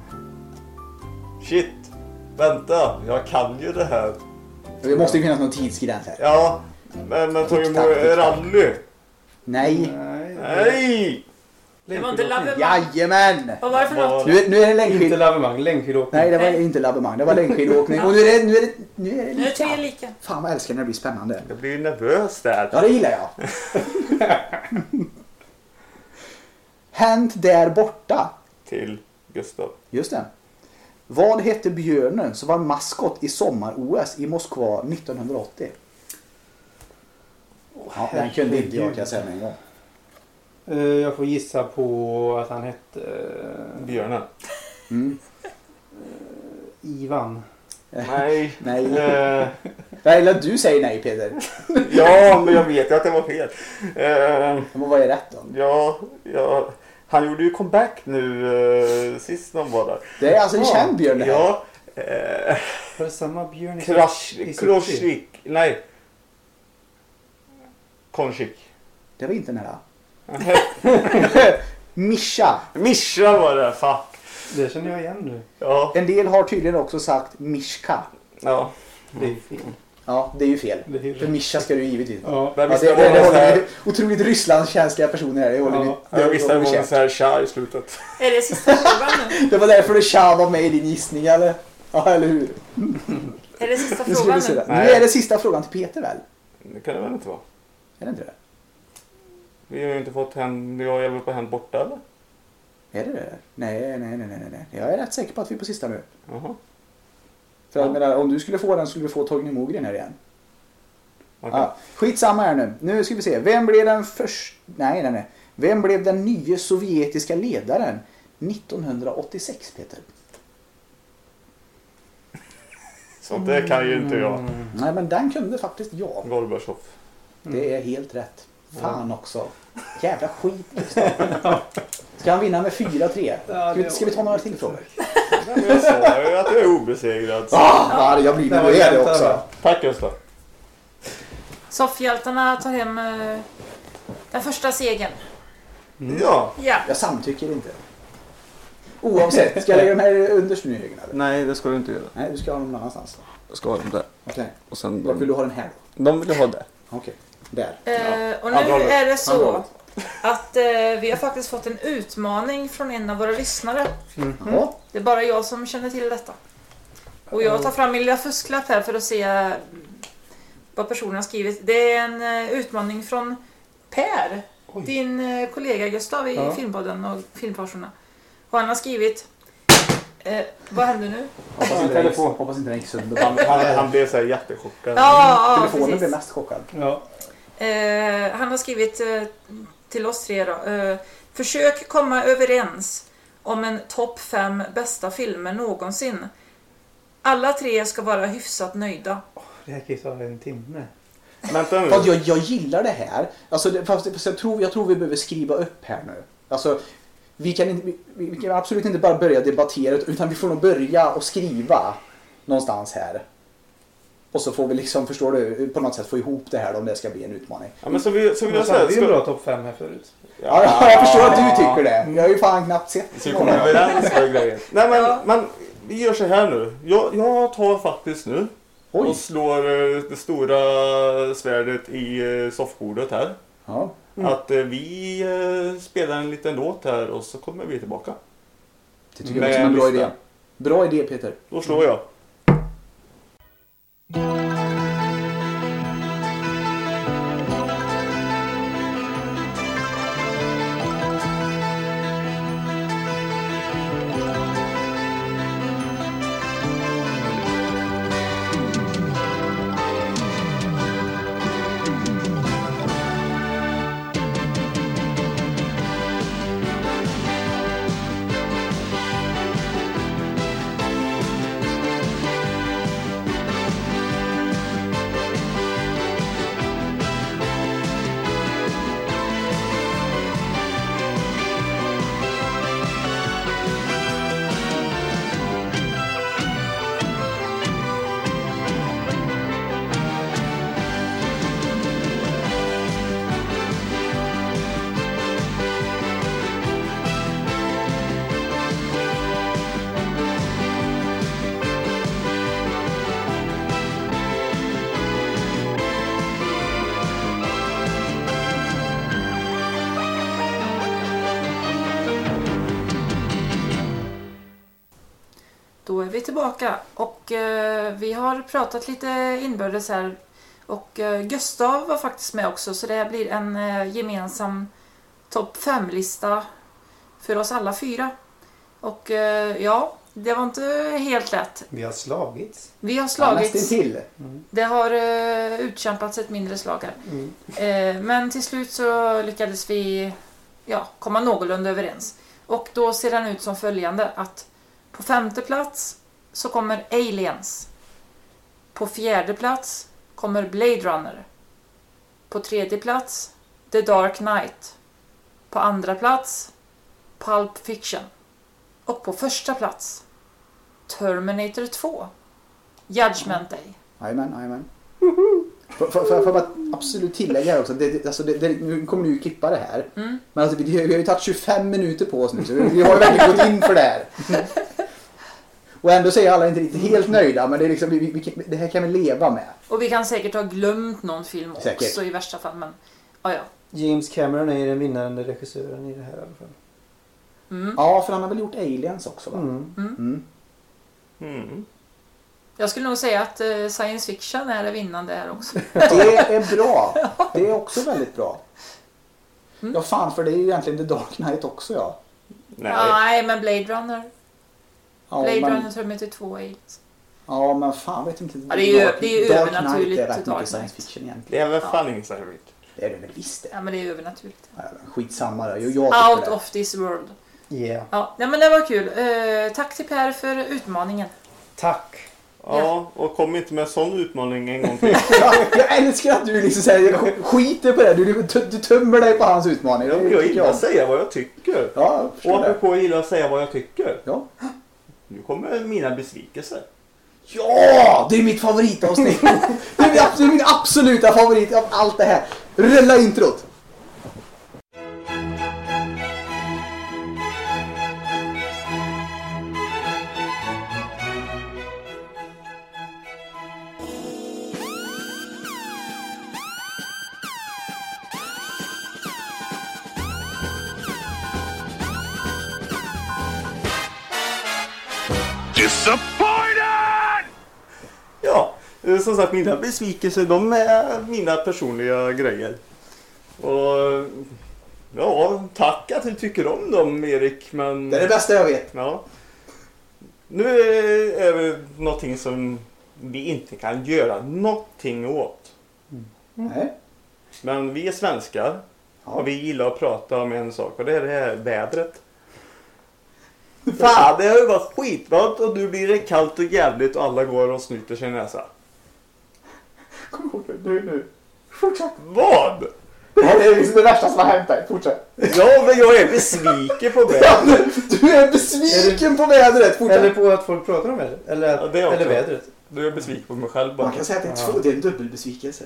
S3: Shit! Vänta, jag kan ju det här.
S1: Det måste ju finnas någon tidsgräns här.
S3: Ja, men, men Torgny
S1: Tick-tack,
S3: Mogren,
S1: tick-tack.
S3: rally!
S1: Nej.
S4: Nej.
S3: Nej!
S2: Det var inte Love Above.
S1: Jajamän!
S2: Vad var det för något?
S3: Vad-
S1: Nu, är- nu är det
S4: Inte
S1: längdskid...
S4: lavemang, längdskidåkning.
S1: Nej, det var inte labbemang. Det var längdskidåkning. Och nu är det... Nu är det... Nu är det
S2: Nu är det tre
S1: lika.
S2: lika.
S1: Fan vad jag älskar när det blir spännande.
S3: Jag blir ju nervös där.
S1: Ja, det gillar jag. Hänt där borta.
S3: Till Gustav.
S1: Just det. Vad hette björnen som var maskot i sommar-OS i Moskva 1980? ja, den kunde inte jag kan jag säga med en gång.
S4: Eh, Jag får gissa på att han hette eh,
S3: Björnen.
S1: Mm.
S4: Ivan.
S3: Nej.
S1: Eh, Nej.
S3: Eh,
S1: Jag gillar att du säger nej Peter.
S3: ja, men jag vet ju att det var fel. Eh,
S1: Men vad är rätt då?
S3: ja, ja, han gjorde ju comeback nu eh, sist de var där.
S1: Det är alltså en känd björn det här.
S3: Ja. Eh,
S4: Var det samma Björn i i
S3: Krasch,
S4: Sochi?
S3: Kroschik. Nej. Konchik.
S1: Det var inte nära. Mischa.
S3: Mischa var det, fuck.
S4: Det känner jag igen nu.
S3: Ja.
S1: En del har tydligen också sagt Mishka.
S3: ja.
S4: Det är ju fel.
S1: Ja, det är ju fel.
S4: Det är ju
S1: För Mischa ska du ju givetvis vara.
S4: Ja.
S3: Mm. Men
S1: Ja,
S3: visst
S1: det, det,
S3: var
S1: det
S3: någon så
S1: håller vi.
S3: här-
S1: Otroligt Rysslandskänsliga personer här. Det håller vi.
S4: Ja,
S1: det
S3: jag visste
S1: håller
S3: det
S1: vi
S3: var någon
S1: käft.
S3: så här tja i slutet.
S2: Är det sista frågan nu?
S1: Det var därför det tja var med i din gissning eller? Ja, eller hur?
S2: Är det sista
S1: Nu, ska
S2: frågan
S1: vi se
S2: nu?
S1: det. nu
S3: Nej.
S1: är det sista frågan till Peter väl?
S3: Det kan det väl inte vara?
S1: Är det inte det?
S3: Vi har ju inte fått hem, jag är väl på hem borta eller?
S1: Är det det? Nej, nej, nej, nej, nej, nej. Jag är rätt säker på att vi är på sista nu.
S3: Jaha.
S1: För jag menar, om du skulle få den skulle du få Torgny Mogren här igen.
S3: Okej.
S1: Ja, skitsamma här nu. Nu ska vi se. Vem blev den först... Nej, nej, nej. Vem blev den nye sovjetiska ledaren 1986, Peter?
S3: Sånt där kan ju inte jag.
S1: Nej, men den kunde faktiskt jag.
S3: Gorbatjov.
S1: Det är helt rätt. Fan också. Jävla skit, Gustav. Ska han vinna med 4-3? Ska vi, ska vi ta några till frågor?
S3: Men jag sa ju att jag är obesegrad. så-
S1: Ah, jag blir
S4: Det var jämnt över.
S3: Tack Gustav.
S2: Soffhjältarna tar hem eh, den första segern.
S3: Ja.
S2: Ja.
S1: Jag samtycker inte. Oavsett, ska jag lägga den här underst nu Jörgen? eller?
S5: Nej, det ska du inte göra.
S1: Nej, du ska ha den någon annanstans.
S5: Jag ska ha dem där.
S1: Okej.
S5: Och sen
S1: Vart vill
S5: de,
S1: du ha den här då?
S5: de vill jag ha där.
S1: Okej. Där.
S2: Eh, och
S3: Andra
S2: nu
S3: hållet.
S2: är det
S1: Andra
S2: så
S1: hållet.
S2: att eh, vi har faktiskt fått en utmaning från en av våra lyssnare.
S5: Mm.
S1: Ja.
S2: Det är bara jag som känner till detta. Och jag tar fram min lilla fusklapp här för att se eh, vad personen har skrivit. Det är en eh, utmaning från Per, din eh, kollega Gustav i
S4: Ja.
S2: Filmpodden och Filmfarsorna. Och han har skrivit... Eh, vad händer nu?
S1: Hoppas inte, den gick,
S4: Telefon.
S1: hoppas inte den gick sönder.
S3: Han, han, han blev så här jättechockad.
S2: Ja, ja,
S1: Telefonen
S2: precis.
S1: blev mest chockad.
S4: Ja.
S2: Eh, han har skrivit eh, till oss tre då. Eh, Försök komma överens om en topp fem bästa filmer någonsin. Alla tre ska vara hyfsat nöjda.
S4: Det här kan ju ta en timme.
S3: Vänta nu.
S1: Fast jag, jag gillar det här. Alltså, det, fast, fast jag, tror, jag tror vi behöver skriva upp här nu. Alltså, vi, kan inte, vi, vi kan absolut inte bara börja debattera utan vi får nog börja och skriva någonstans här. Och så får vi liksom, förstår du, på något sätt få ihop det här om det ska bli en utmaning.
S3: Ja, men så vi, så vi gör
S4: Men
S3: så
S4: så hade
S3: här.
S4: vi ju en
S3: Ska,
S4: bra topp fem här förut.
S1: Ja, jag förstår att du tycker det. Jag har ju fan knappt sett
S3: så vi kommer överens med grejen. Nej men, men vi gör så här nu. Jag, jag tar faktiskt nu
S1: Oj!
S3: och slår eh, det stora svärdet i eh, soffbordet här.
S1: Ja.
S3: Att eh, vi eh, spelar en liten låt här och så kommer vi tillbaka.
S1: Det tycker jag
S3: Med
S1: också är en bra
S3: lista.
S1: idé. Bra idé Peter.
S3: Då slår jag.
S2: Då är vi tillbaka och eh, vi har pratat lite inbördes här. Och eh, Gustav var faktiskt med också så det här blir en eh, gemensam topp 5-lista för oss alla fyra. Och eh, ja, det var inte helt lätt.
S4: Vi har slagits.
S2: Vi har
S1: Ja,
S2: slagits.
S1: Nästintill.
S2: Det har eh, utkämpats ett mindre slag här. Eh, men till slut så lyckades vi ja, komma någorlunda överens. Och då ser den ut som följande att på femte plats så kommer Aliens. På fjärde plats kommer Blade Runner. På tredje plats The Dark Knight. På andra plats Pulp Fiction. Och på första plats Terminator 2. Judgment Day.
S1: Jajamän, jajamän. Får får- får jag får jag bara absolut tillägga här också, det, det, alltså det, det, nu kommer du ju klippa det här.
S2: Mm.
S1: Men alltså, vi, vi har ju tagit 25 minuter på oss nu så vi, vi har ju verkligen gått in för det här. Och ändå säger alla inte riktigt helt nöjda men det, är liksom, vi, vi, vi- det här kan vi leva med.
S2: Och vi kan säkert ha glömt någon film
S1: Säkert.
S2: också i värsta fall. Men ja, ja.
S4: James Cameron är ju den vinnande regissören i det här i alla fall.
S2: Mm.
S1: Ja, för han har väl gjort aliens också va?
S4: Mm.
S3: Mm.
S2: Jag skulle nog säga att eh, science fiction är det vinnande här också.
S1: Det är bra.
S2: Mm.
S1: Det är också väldigt bra. Ja, fan för det är ju egentligen The Dark Knight också ja.
S2: Nej,
S5: Nej.
S2: men Blade Runner.
S1: Ja,
S2: Blade
S1: men,
S2: Runner tror jag de heter två i.
S1: ja, men fan vet inte.
S2: Ja, det är ju-
S1: Dark-
S2: det är ju
S1: Dark
S2: övernaturligt
S1: Knight är rätt
S2: Dark
S1: mycket science
S2: Knight.
S1: fiction egentligen.
S3: Det är väl
S2: Ja.
S3: fan ingen science fiction.
S1: Det är det väl visst det.
S2: Ja, men det är övernaturligt.
S1: Ja, men Skitsamma då. Jag, jag
S2: Out
S1: tycker det.
S2: of this world.
S4: Yeah.
S2: Ja, nej, men det var kul. Eh, tack till Per för utmaningen.
S4: Tack.
S3: Ja,
S2: Ja.
S3: och kom inte med en sån utmaning en gång till.
S1: Ja, jag älskar att du liksom säger sk- skiter på det. Du, du, du tömmer dig på hans utmaning. Det
S3: jag,
S1: tycker
S3: jag gillar att säga vad jag tycker.
S1: Ja, jag
S3: Och
S1: förstår det.
S3: apropå jag gillar att säga vad jag tycker.
S1: Ja.
S3: Nu kommer mina besvikelser.
S1: ja, det är mitt favoritavsnitt. det, är min, abs- det är min absoluta favorit av allt det här. Rulla introt.
S6: Disappointed!
S3: Ja, eh, som sagt mina besvikelser de är mina personliga grejer. Och ja, tack att du tycker om dem Erik, men...
S1: Det är det bästa jag vet.
S3: Ja. Nu är- är det någonting som vi inte kan göra någonting åt.
S1: Nej.
S3: Men vi är svenskar och vi gillar att prata om en sak och det är det här vädret. Fan, det har ju varit skitvarmt och nu blir det kallt och jävligt och alla går och snyter sin näsa.
S1: Kom ihåg det. Nu, nu. Fortsätt.
S3: Vad?
S1: Det här är liksom det värsta som har hänt dig. Fortsätt.
S3: Ja, men jag är besviken på det.
S1: Ja, nu, du är besviken på vädret.
S4: Eller
S1: Fortsätt.
S4: på att folk pratar om vädret. Eller,
S3: Ja, det är också.
S4: eller vädret.
S3: Du är besviken på mig själv bara.
S1: Man kan säga att det är två. Det är en dubbelbesvikelse.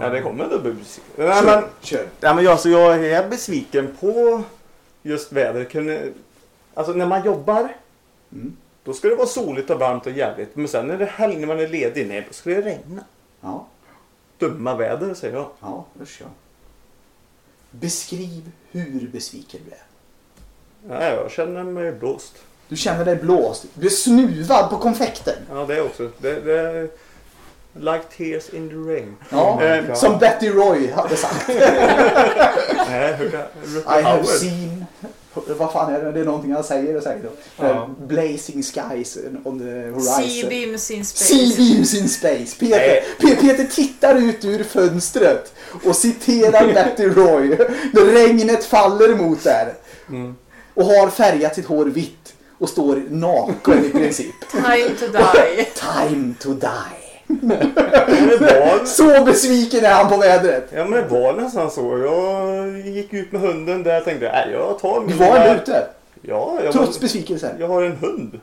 S3: Ja, det kommer en dubbelbesviken. Nej, men
S1: Kör. Kör.
S3: Ja, men jag, alltså, jag är besviken på just vädret. Kunde- Alltså när man jobbar.
S1: Mm.
S3: Då ska det vara soligt och varmt och jävligt. Men sen när det är helg när man är ledig. Nej, då ska det regna.
S1: Ja.
S3: Dumma väder säger jag.
S1: Ja, usch ja. Beskriv hur besviken du är.
S3: Ja, jag känner mig blåst.
S1: Du känner dig blåst. Du är snuvad på konfekten.
S3: Ja, det också. Det, det... Like tears in the rain.
S1: Ja,
S3: Eh,
S1: Mm. som Betty Roy hade sagt.
S3: Nej, hur kan...
S1: I have
S3: Howard.
S1: seen... Vad fan är det? Det är någonting han säger säkert.
S4: Ja.
S1: Eh, Blazing skies on the
S2: Sea
S1: horizon.
S2: beams in space.
S1: Sea beams in space. Peter, Pe- Peter tittar ut ur fönstret och citerar Betty Roy. När regnet faller mot där.
S3: Mm.
S1: Och har färgat sitt hår vitt. Och står naken i princip.
S2: Time to die.
S1: Time to die.
S3: Men det var-
S1: Så besviken är han på vädret.
S3: Ja, men det var nästan så. Jag gick ut med hunden där och tänkte, nej, jag tar
S1: Du
S3: min...
S1: var ändå ute,
S3: Ja, jag
S1: trots
S3: var...
S1: besvikelsen.
S3: Jag har en hund.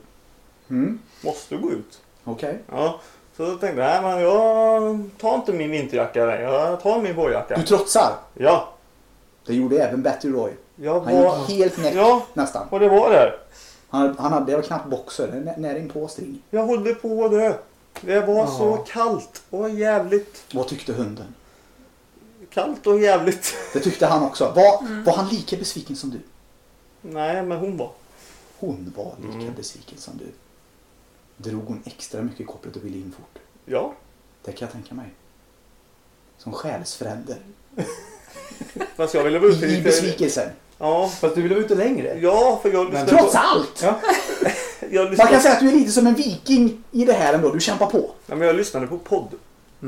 S1: Mm.
S3: Måste gå ut.
S1: Okej.
S3: Ja. Så jag tänkte jag, men jag tar inte min vinterjacka längre. Jag tar min vårjacka.
S1: Du trotsar.
S3: Ja.
S1: Det gjorde även Betty Roy.
S3: Jag
S1: Han gick
S3: var...
S1: helt näck
S3: Ja,
S1: nästan.
S3: och det var där.
S1: Han, han hade, det var knappt boxer, nä- nära inpå string.
S3: Jag håller på att dö. Det var så
S4: Ja.
S3: kallt och jävligt.
S1: Vad tyckte hunden?
S3: Kallt och jävligt.
S1: Det tyckte han också. Var, var han lika besviken som du?
S3: Nej, men hon var.
S1: Hon var lika besviken som du. Drog hon extra mycket i kopplet och ville in fort?
S3: Ja.
S1: Det kan jag tänka mig. Som själsfränder.
S3: Fast jag ville vara ute
S1: I, I besvikelsen.
S3: Ja.
S4: Fast du ville vara ute längre.
S3: Ja, för jag lyssnade
S1: Trots
S3: på...
S1: allt!
S4: Ja.
S3: Jag
S1: Man kan
S3: lyssnade,
S1: säga att du är lite som en viking i det här ändå. Du kämpar på.
S3: Nej, men jag lyssnade på podd.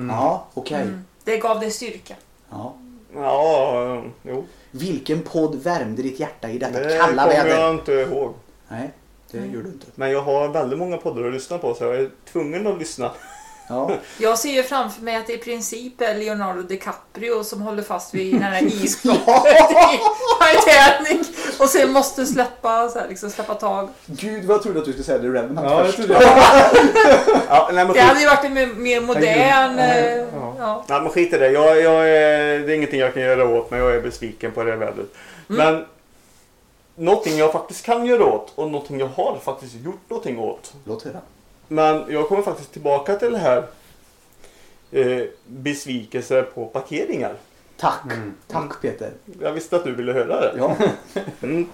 S1: Ja, okej.
S2: Det gav dig styrka.
S1: Ja.
S3: Ja, eh, jo.
S1: Vilken podd värmde ditt hjärta i detta
S3: Det
S1: kalla
S3: kommer
S1: väder?
S3: jag inte ihåg.
S1: Nej, det gör du inte.
S3: Men jag har väldigt många poddar att lyssna på så jag är tvungen att lyssna.
S1: Ja.
S2: Jag ser ju framför mig att det i princip är Leonardo DiCaprio som håller fast vid den här isflotten i Titanic och sen måste släppa, så här, liksom, släppa tag.
S1: Gud, vad trodde att du skulle säga? The Revenant
S4: Ja, jag
S1: först.
S4: trodde det.
S3: Ja, nej, men
S2: Det
S3: skit,
S2: hade ju varit en mer- mer modern... eh,
S4: Ja.
S2: Ja.
S3: nej, men skit i det. Jag, jag är, det är ingenting jag kan göra åt men jag är besviken på det vädret. Men någonting jag faktiskt kan göra åt och någonting jag har faktiskt gjort någonting åt.
S1: Låt höra.
S3: Men jag kommer faktiskt tillbaka till det här eh, besvikelser på parkeringar.
S1: Tack. Tack Peter.
S3: Jag visste att du ville höra det.
S1: Ja.
S3: Mm.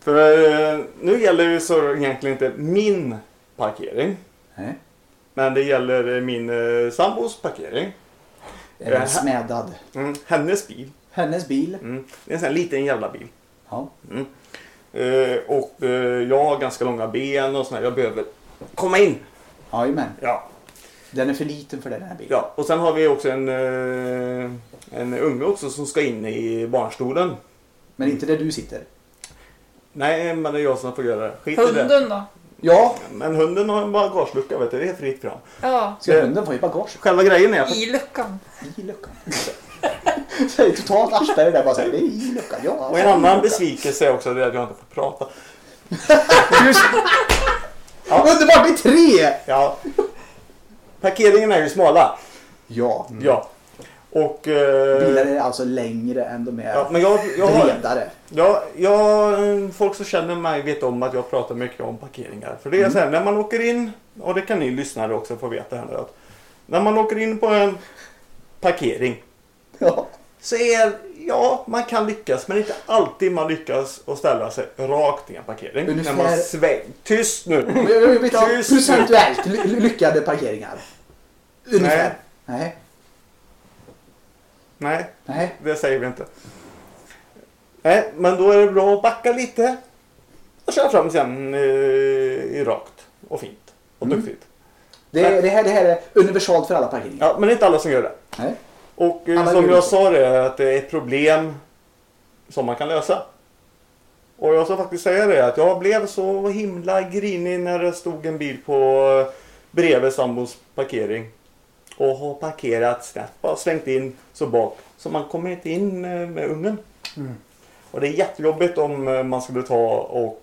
S3: För eh, nu gäller det så egentligen inte min parkering.
S1: Nej.
S3: Men det gäller eh, min eh, sambos parkering.
S1: Den är
S3: Eh,
S1: smädad.
S3: Mm, hennes bil.
S1: Hennes bil.
S3: Mm, det är en sån här liten jävla bil.
S1: Ja.
S3: Eh, och eh, jag har ganska långa ben och sådär. Jag behöver komma in.
S1: Jajamän.
S3: Ja,
S1: Den är för liten för den här bilen.
S3: ja. Och sen har vi också en, eh, en unge också som ska in i barnstolen.
S1: Men inte där du sitter.
S3: Nej, men det är jag som får göra det. Skit i det.
S2: Hunden då?
S1: Ja,
S3: Men hunden har en bagagelucka, vet du. Det är fritt fram.
S2: Ja,
S1: ska hunden få i bagage?
S3: Själva grejen är att
S2: i luckan.
S1: I luckan. Det är totalt Aschberg där bara säger det är i luckan. Ja,
S3: Och en
S1: i
S3: annan
S1: luckan.
S3: besvikelse är också det att jag inte får prata.
S1: Underbart, det är tre!
S3: Ja. Parkeringen är ju smala.
S1: Ja,
S3: Ja. Och... eh,
S1: bilar är alltså längre än de är
S3: ja, men jag, jag, har,
S1: bredare.
S3: jag, jag, folk som känner mig vet om att jag pratar mycket om parkeringar. För det
S1: Mm.
S3: är så här, när man åker in, och det kan ni lyssnare också få veta här nu. Att när man åker in på en parkering
S1: Ja.
S3: så är, ja, man kan lyckas, men inte alltid man lyckas att ställa sig rakt i en parkering.
S1: Ungefär-
S3: När man sväng... Tyst nu!
S1: Men Jag vet inte,
S3: Tyst.
S1: procentuellt ly- ly- lyckade parkeringar. Ungefär. Nej.
S3: Nej.
S1: Nej.
S3: Det säger vi inte. Nej, men då är det bra att backa lite. Och köra fram sen eh, i rakt och fint och duktigt.
S1: Det, det, här, det här är universalt för alla parkeringar.
S3: Ja, men det är inte alla som gör det.
S1: Nej.
S3: Och eh,
S1: Alla
S3: som
S1: gör
S3: jag
S1: så.
S3: sa det, är att det är ett problem som man kan lösa. Och jag ska faktiskt säga det att jag blev så himla grinig när det stod en bil på eh, bredvid sambons parkering. Och har parkerat snett, bara slängt in så bak. Så man kommer inte in eh, med ungen. Och det är jättejobbigt om eh, man skulle ta och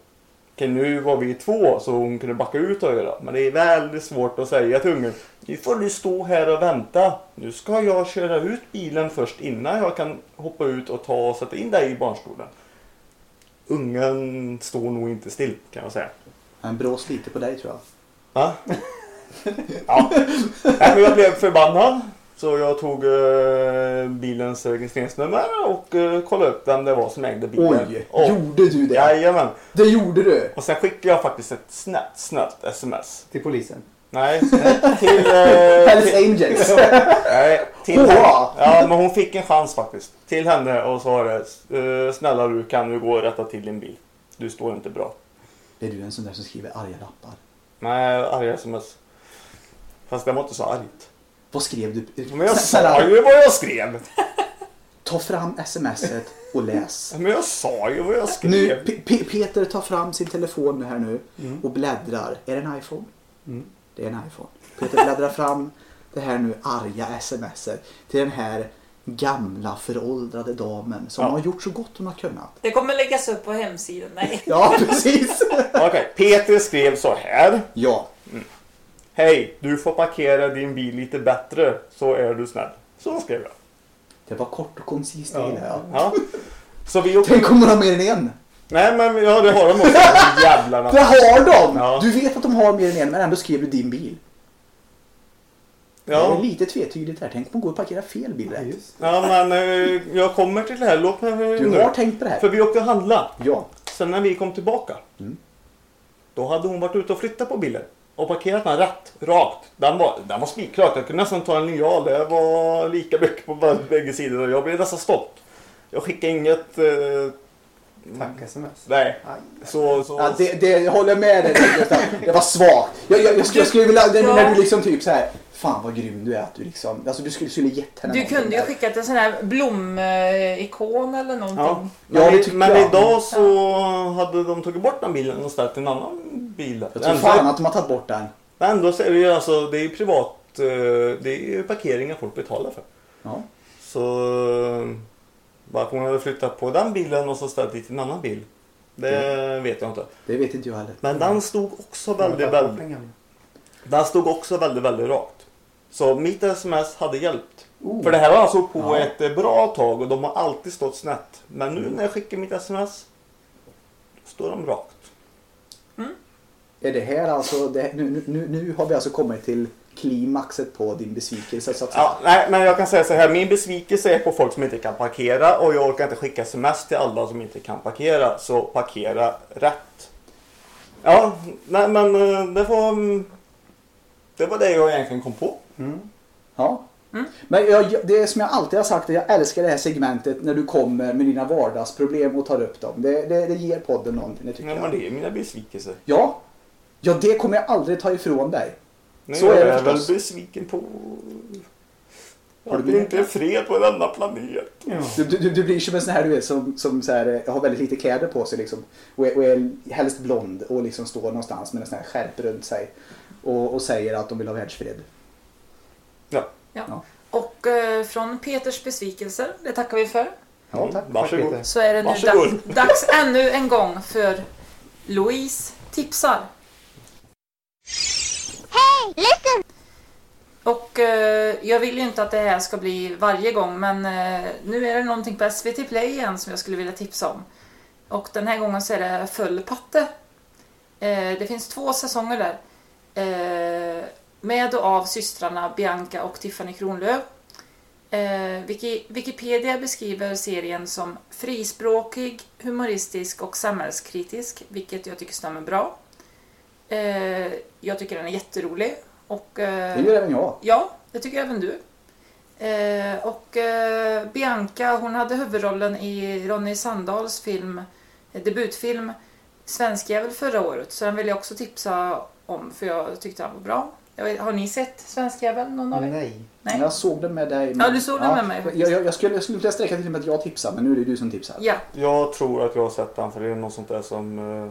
S3: Okej, nu var vi två så hon kunde backa ut och göra. Men det är väldigt svårt att säga till ungen. Nu får du stå här och vänta. Nu ska jag köra ut bilen först innan jag kan hoppa ut och ta och sätta in dig i barnstolen. Ungen står nog inte still kan jag säga.
S1: Han brås lite på dig tror jag.
S3: Va? ja. Nej, men jag blev förbannad. Så jag tog eh, bilens registreringsnummer och eh, kollade upp vem det var som ägde bilen.
S1: Oj,
S3: Och-
S1: gjorde du det?
S3: Jajamän.
S1: Det gjorde du!
S3: Och sen skickade jag faktiskt ett snällt, snällt sms.
S4: Till polisen.
S3: Nej, till... Eh,
S1: Hells
S3: till
S1: Angels!
S3: nej, till
S1: Åh!
S3: henne. Ja, men hon fick en chans faktiskt. Till henne och sa det. eh, Snälla du, kan du gå och rätta till din bil? Du står inte bra.
S1: Är du en sån där som skriver arga lappar?
S3: Nej, arga sms. Fast det var inte så argt.
S1: Vad skrev du?
S3: Men jag
S1: Snälla,
S3: sa ju vad jag skrev!
S1: ta fram smset och läs.
S3: Men jag sa ju vad jag skrev.
S1: Nu, P- P- Peter tar fram sin telefon här nu
S3: Mm.
S1: och bläddrar. Är det en iPhone? Det är en iPhone. Peter bläddrar fram det här nu arga smset till den här gamla föråldrade damen som
S3: Ja.
S1: har gjort så gott hon har kunnat.
S2: Det kommer läggas upp på hemsidan. Nej.
S1: Ja, precis!
S3: Okej, Peter skrev så här.
S1: ja.
S3: Hej, du får parkera din bil lite bättre så är du snäll. Så skrev jag.
S1: Det var kort och koncist, det
S4: Ja.
S1: gillar jag.
S3: Ja. Så vi åkte...
S1: Tänk om hon har mer än en!
S3: Nej men ja, det har de också. Jävlarna.
S1: Det har de!
S3: Ja.
S1: Du vet att de har mer än en men ändå skrev du din bil. Det
S3: Ja.
S1: är lite tvetydigt här. Tänk om man går och parkerar fel bil rätt.
S3: Ja men eh, jag kommer till det här. Låt mig eh,
S1: Du
S3: nu.
S1: har tänkt på det
S3: För
S1: här?
S3: vi åkte och handla.
S1: Ja.
S3: Sen när vi kom tillbaka.
S1: Mm.
S3: Då hade hon varit ute och flyttat på bilen. Och parkerat den rätt. Rakt. Den var, den var spikrakt. Jag kunde nästan ta en linjal. Det var lika mycket på bä- bägge sidor. Jag blev nästan stolt. Jag skickade inget... Eh,
S4: Tack sms.
S3: nej.
S4: Aj.
S3: Så, så,
S1: Ja, det, det jag håller med dig Gustav. Det var svagt. Jag, jag, jag, skulle, jag skulle vilja, det-
S2: Ja.
S1: när du liksom typ så här. Fan vad grym du är att du liksom, alltså du skulle, skulle gett henne
S2: Du
S1: någonting
S2: kunde ju
S1: där.
S2: skickat en sån här blomikon eller
S3: Ja.
S2: någonting.
S3: Men,
S1: Ja, det
S3: i,
S1: tycker
S3: men
S1: jag.
S3: idag så hade de tagit bort den bilen och ställt en annan bil där.
S1: Jag tror
S3: Ändå-
S1: fan att de har tagit bort den.
S3: Men ändå så är det ju alltså, det är ju privat, eh, det är ju parkeringar folk betalar för.
S1: Ja.
S3: Så eh, varför hon hade flyttat på den bilen och så ställt dit en annan bil. Det vet jag inte.
S1: Det vet inte jag heller.
S3: Men den stod också väldigt, väldigt, den stod också väldigt, väldigt rakt. Så mitt sms hade hjälpt.
S4: Oh.
S3: För det här var alltså på
S1: Ja.
S3: ett eh, bra tag och de har alltid stått snett. Men nu när jag skickar mitt sms, då står de rakt.
S1: Är det här alltså, det, nu, nu- nu, nu har vi alltså kommit till klimaxet på din besvikelse så att säga.
S3: Ja, nej, men jag kan säga så här. Min besvikelse är på folk som inte kan parkera och jag orkar inte skicka sms till alla som inte kan parkera. Så parkera rätt. Ja, nej, men eh, det var... mm, Det var det jag egentligen kom på.
S1: Ja. Men jag, det som jag alltid har sagt, är jag älskar det här segmentet när du kommer med dina vardagsproblem och tar upp dem. Det, det, det ger podden någonting, det tycker
S2: Mm.
S3: Nej,
S1: jag.
S3: men det är mina besvikelser.
S1: Ja. ja, det kommer jag aldrig ta ifrån dig.
S3: Nej,
S1: Så
S3: jag
S1: är det
S3: är väl
S1: förstås.
S3: besviken på...
S1: Har du
S3: Att det
S1: mer?
S3: inte är fred på denna planet.
S1: Du, du, du- du blir som en sån här du vet, som, som så här, eh, har väldigt lite kläder på sig liksom. och, är, och är helst blond och liksom står någonstans med en sån här skärp runt sig och, och säger att de vill ha världsfred.
S3: Ja.
S1: Ja.
S2: Ja. Och eh, från Peters besvikelser, det tackar vi för,
S1: Ja, tack.
S3: Mm, Varsågod.
S4: Peter.
S2: så är det nu
S3: Varsågod.
S2: dags, dags ännu en gång för Louise tipsar.
S7: Hey, listen!
S2: Och eh, jag vill ju inte att det här ska bli varje gång men eh, nu är det någonting på SVT Play igen som jag skulle vilja tipsa om. Och den här gången så är det Full patte. Eh, det finns två säsonger där. Eh, med och av systrarna Bianca och Tiffany Kronlöf. Eh, Wiki, Wikipedia beskriver serien som frispråkig, humoristisk och samhällskritisk, vilket jag tycker stämmer bra. Eh, jag tycker den är jätterolig. Och, eh,
S1: Det gör även jag.
S2: Ja, det tycker även du. Eh, och eh, Bianca, hon hade huvudrollen i Ronny Sandals film, eh, debutfilm Svenskjävel förra året. Så den vill jag också tipsa om för jag tyckte den var bra. Jag vet, har ni sett Svenskjävel någon av er?
S4: Nej.
S2: Nej.
S1: Jag såg den med dig.
S2: Ja, du såg den med mig faktiskt.
S1: Jag, jag, jag skulle, jag skulle inte sträcka till med att jag tipsar, men nu är det du som tipsar.
S2: Ja,
S3: Jag tror att jag har sett den för det är något sånt där som eh,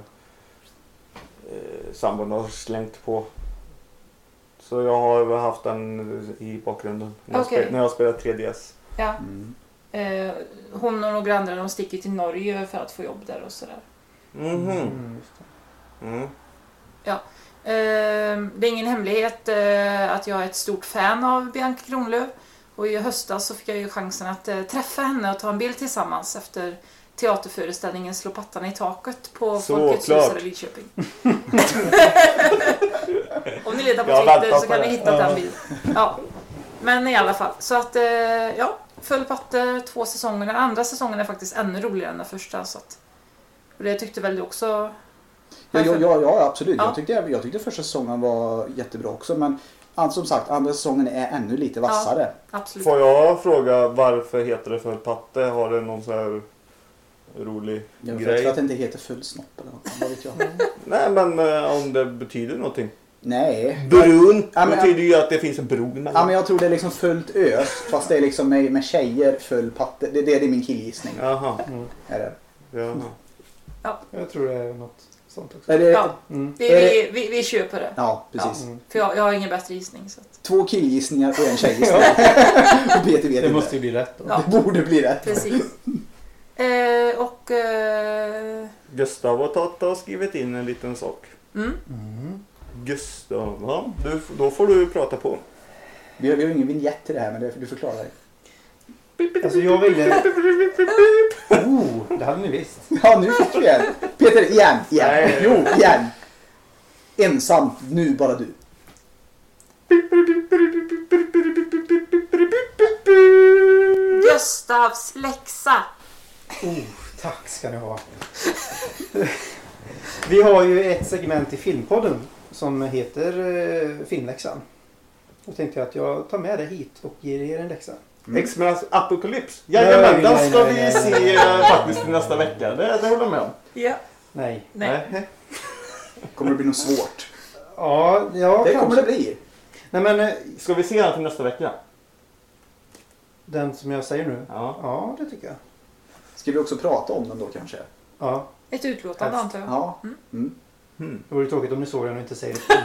S3: eh, sambon har slängt på. Så jag har väl haft den i bakgrunden när,
S2: Okej.
S3: jag, spel, när jag spelar 3DS.
S2: ja.
S1: Mm.
S2: Eh, hon och några andra de sticker till Norge för att få jobb där och sådär.
S3: Mhm.
S4: Mm, just det.
S3: Mm.
S2: Eh, Det är ingen hemlighet eh, att jag är ett stort fan av Bianca Kronlöf. Och i höstas så fick jag ju chansen att eh, träffa henne och ta en bild tillsammans efter teaterföreställningen Slå pattarna i taket på
S3: Så
S2: Folkets hus
S3: klart.
S2: här i Lidköping. Om ni letar på
S3: Jag har
S2: Twitter
S3: väntat
S2: så
S3: på
S2: kan
S3: det.
S2: ni hitta den bilden. Ja. Men i alla fall, så att eh, ja, full patte två säsonger. Den andra säsongen är faktiskt ännu roligare än den första. Så att, och det tyckte väl du också?
S1: Ja, ja, ja, ja absolut.
S2: Ja.
S1: Jag, tyckte, jag tyckte första säsongen var jättebra också, men an- som sagt, andra säsongen är ännu lite vassare.
S2: Absolut.
S3: Får jag fråga varför heter det för patte? Har det någon sån här rolig
S1: Jag
S3: grej?
S1: tror att det inte heter full snopp eller något, vad vet jag.
S3: Nej men eh, om det betyder någonting.
S1: Nej.
S3: Brun
S1: Ja, men-
S3: betyder ju att det finns en bro mellan.
S1: Ja, men jag tror det är liksom fullt ös, fast det är liksom med, med tjejer, full patte. Det, det, det är min killgissning.
S3: Jaha.
S1: Är det?
S3: Ja.
S4: Jag tror det är något sånt också.
S1: Är det
S2: Ja,
S4: Mm.
S2: vi,
S1: Är
S2: vi, vi, vi köper det.
S1: ja, precis.
S4: Mm.
S2: För jag, jag har ingen bättre gissning. Så att,
S1: Två killgissningar och en tjejgissning. och Peter vet
S4: Det
S1: inte.
S4: måste ju bli rätt då.
S2: ja,
S1: Det borde bli rätt.
S2: precis. Eh, och... Eh,
S3: Gustav och Tata har skrivit in en liten sak.
S2: mm,
S3: Gustav, ja, du, då får du prata på.
S1: Vi har, vi har ingen vignett till det här, men det, du förklarar.
S4: Alltså jag ville... Oh, det hade ni visst.
S1: Ja, nu fick vi en. Peter, igen, igen.
S3: Nej.
S1: Jo, igen. Ensam, nu bara du.
S2: Gustavs läxa.
S4: Oh, tack ska ni ha. Vi har ju ett segment i Filmpodden som heter eh, Filmläxan. Då tänkte jag att jag tar med det hit och ger er en läxa.
S3: X-Men Apocalypse. Jajamän,
S4: Nej,
S3: den
S4: nej,
S3: ska
S4: nej,
S3: vi
S4: nej,
S3: se
S4: nej.
S3: eh, faktiskt nästa vecka. Det, det håller jag med om.
S2: Ja.
S4: Nej.
S2: Nej.
S1: Kommer det bli något svårt?
S4: Ja, ja
S1: Det
S4: kanske.
S1: kommer det bli.
S4: Nej men eh,
S3: Ska vi se den till nästa vecka?
S4: den som jag säger nu.
S3: Ja.
S4: Ja, det tycker jag.
S1: Ska vi också prata om den då kanske?
S4: Ja,
S2: Ett utlåtande antar jag.
S1: Ja. Mm.
S4: det vore tråkigt om ni såg den och inte säger det.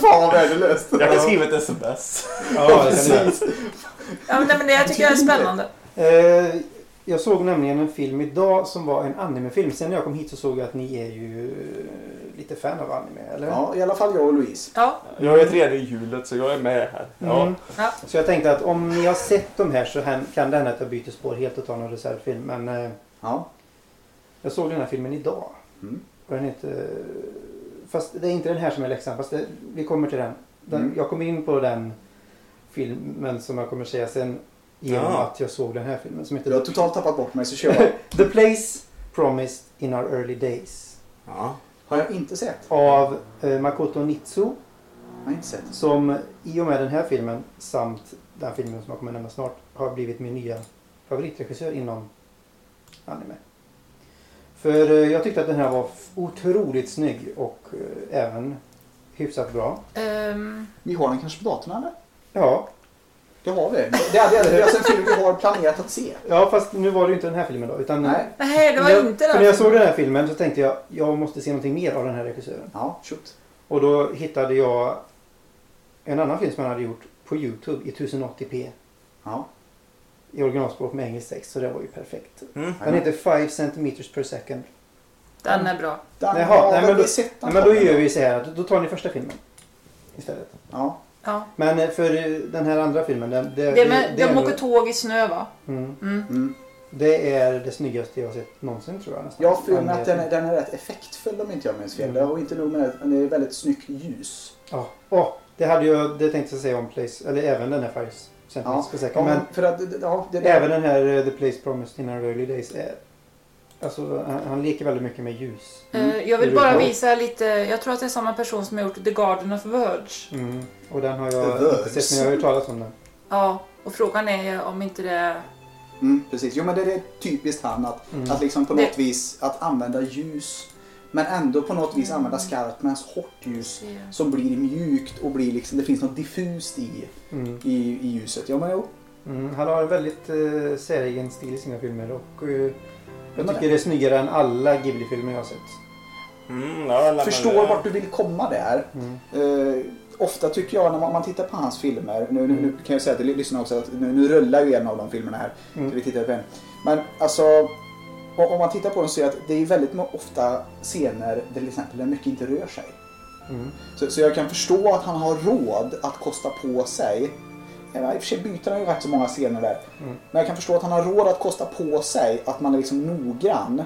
S1: Fan vad värdelöst.
S3: Jag kan skriva ett sms.
S4: Ja, det kan ni göra.
S2: Ja, men, nej, men det jag tycker jag är spännande.
S4: Eh, jag såg nämligen en film idag som var en animefilm. Sen när jag kom hit så såg jag att ni är ju eh, lite fan av anime, eller?
S1: Ja, i alla fall jag och Louise.
S2: Ja,
S3: Jag är tredje i hjulet så jag är med här. Ja.
S4: Mm.
S2: Ja.
S4: Så jag tänkte att om ni har sett de här så här- kan det hända att jag byter spår helt och tar någon reservfilm. Men eh,
S1: Ja.
S4: jag såg den här filmen idag.
S1: Mm.
S4: Och den heter... Fast det är inte den här som är läxan. Fast det, vi kommer till den. den
S1: Mm.
S4: Jag kom in på den filmen som jag kommer säga sen genom
S3: Ja.
S4: att jag såg den här filmen som heter
S1: Du har totalt tappat bort mig så kör jag.
S4: The Place Promised in Our Early Days.
S3: Ja.
S1: Har jag inte sett.
S4: Av eh, Makoto Nitsu
S1: Jag har inte sett det.
S4: Som i och med den här filmen samt den filmen som jag kommer nämna snart har blivit min nya favoritregissör inom anime. För eh, jag tyckte att den här var f- otroligt snygg och eh, även hyfsat bra.
S2: Ehm,
S1: Vi har den kanske på datorn eller?
S4: Ja,
S1: Det har vi. Det är, det är, det är alltså en film vi har planerat att se.
S4: ja fast nu var det ju inte den här filmen då. Utan
S1: Nej.
S2: nej, det var
S4: jag,
S2: inte
S4: för När jag
S2: den.
S4: såg den här filmen så tänkte jag jag måste se någonting mer av den här regissören.
S1: Ja, shoot.
S4: Och då hittade jag en annan film som han hade gjort på Youtube i 1080p
S1: Ja.
S4: i originalspråk med engelsk text så det var ju perfekt.
S5: Mm.
S4: Den heter 5 centimeters per second.
S2: Den är bra.
S1: Där
S4: Jaha,
S1: har
S4: nej,
S1: väl
S4: men
S1: vi
S4: då-
S1: sett den
S4: Nej, men då
S1: filmen
S4: gör vi så här att då tar ni första filmen istället.
S1: Ja.
S2: Ja.
S4: Men eh, för eh, den här andra filmen, den, det,
S2: Det är med,
S4: det, är
S2: de
S4: nog-
S2: åker tåg i snö va?
S4: mm,
S2: Mm.
S1: Mm.
S4: det är det snyggaste jag har sett någonsin tror jag. Nästan. eh,
S1: Jag har för mig att den
S4: Anledningen.
S1: är, den är rätt effektfull om inte jag minns fel.
S4: Mm.
S1: Och inte nog med det, den är väldigt snyggt ljus.
S4: Ja, Åh, det hade jag det tänkte jag säga om Place, eller även den här 5
S1: Ja,
S4: centimeters per second.
S1: ja,
S4: Men
S1: för att, ja, det,
S4: även den här eh, The Place Promised in our early days är... Alltså han, han leker väldigt mycket med ljus.
S1: Mm.
S2: Eh, Jag vill
S4: Det är
S2: bara
S4: bra.
S2: visa lite, jag tror att det är samma person som har gjort The Garden of Verge.
S4: Mm. Och den har
S1: The
S4: jag inte
S1: Words.
S4: sett men jag har ju talat om den.
S2: Ja, och frågan är ju om inte det...
S1: Mm, precis. Jo men det är typiskt han att,
S4: Mm.
S1: att liksom på
S2: Det-
S1: något vis att använda ljus men ändå på något vis använda skarpt men alltså hårt ljus som blir mjukt och blir liksom, det finns något diffust i,
S4: Mm.
S1: i, i ljuset. Ja men jo.
S4: Mm, han har en väldigt eh, säregen stil i sina filmer och eh, jag
S1: Men
S4: tycker
S1: det-
S4: det är snyggare än alla Ghibli-filmer jag har sett.
S5: Mm, ja, nej, men
S1: Förstår
S5: det-
S1: vart du vill komma där.
S4: Mm.
S1: Eh, ofta tycker jag när man, man tittar på hans filmer, nu, nu, nu kan jag säga till lyssnarna också att nu, nu rullar ju en av de filmerna här.
S4: Mm.
S1: Så vi tittar på en. Men alltså, o- om man tittar på den så ser jag att det är väldigt mo- ofta scener där till exempel där mycket inte rör sig.
S4: Mm.
S1: Så, så jag kan förstå att han har råd att kosta på sig, ja, i och för sig byter han ju rätt så många scener där,
S4: Mm.
S1: men jag kan förstå att han har råd att kosta på sig att man är liksom noggrann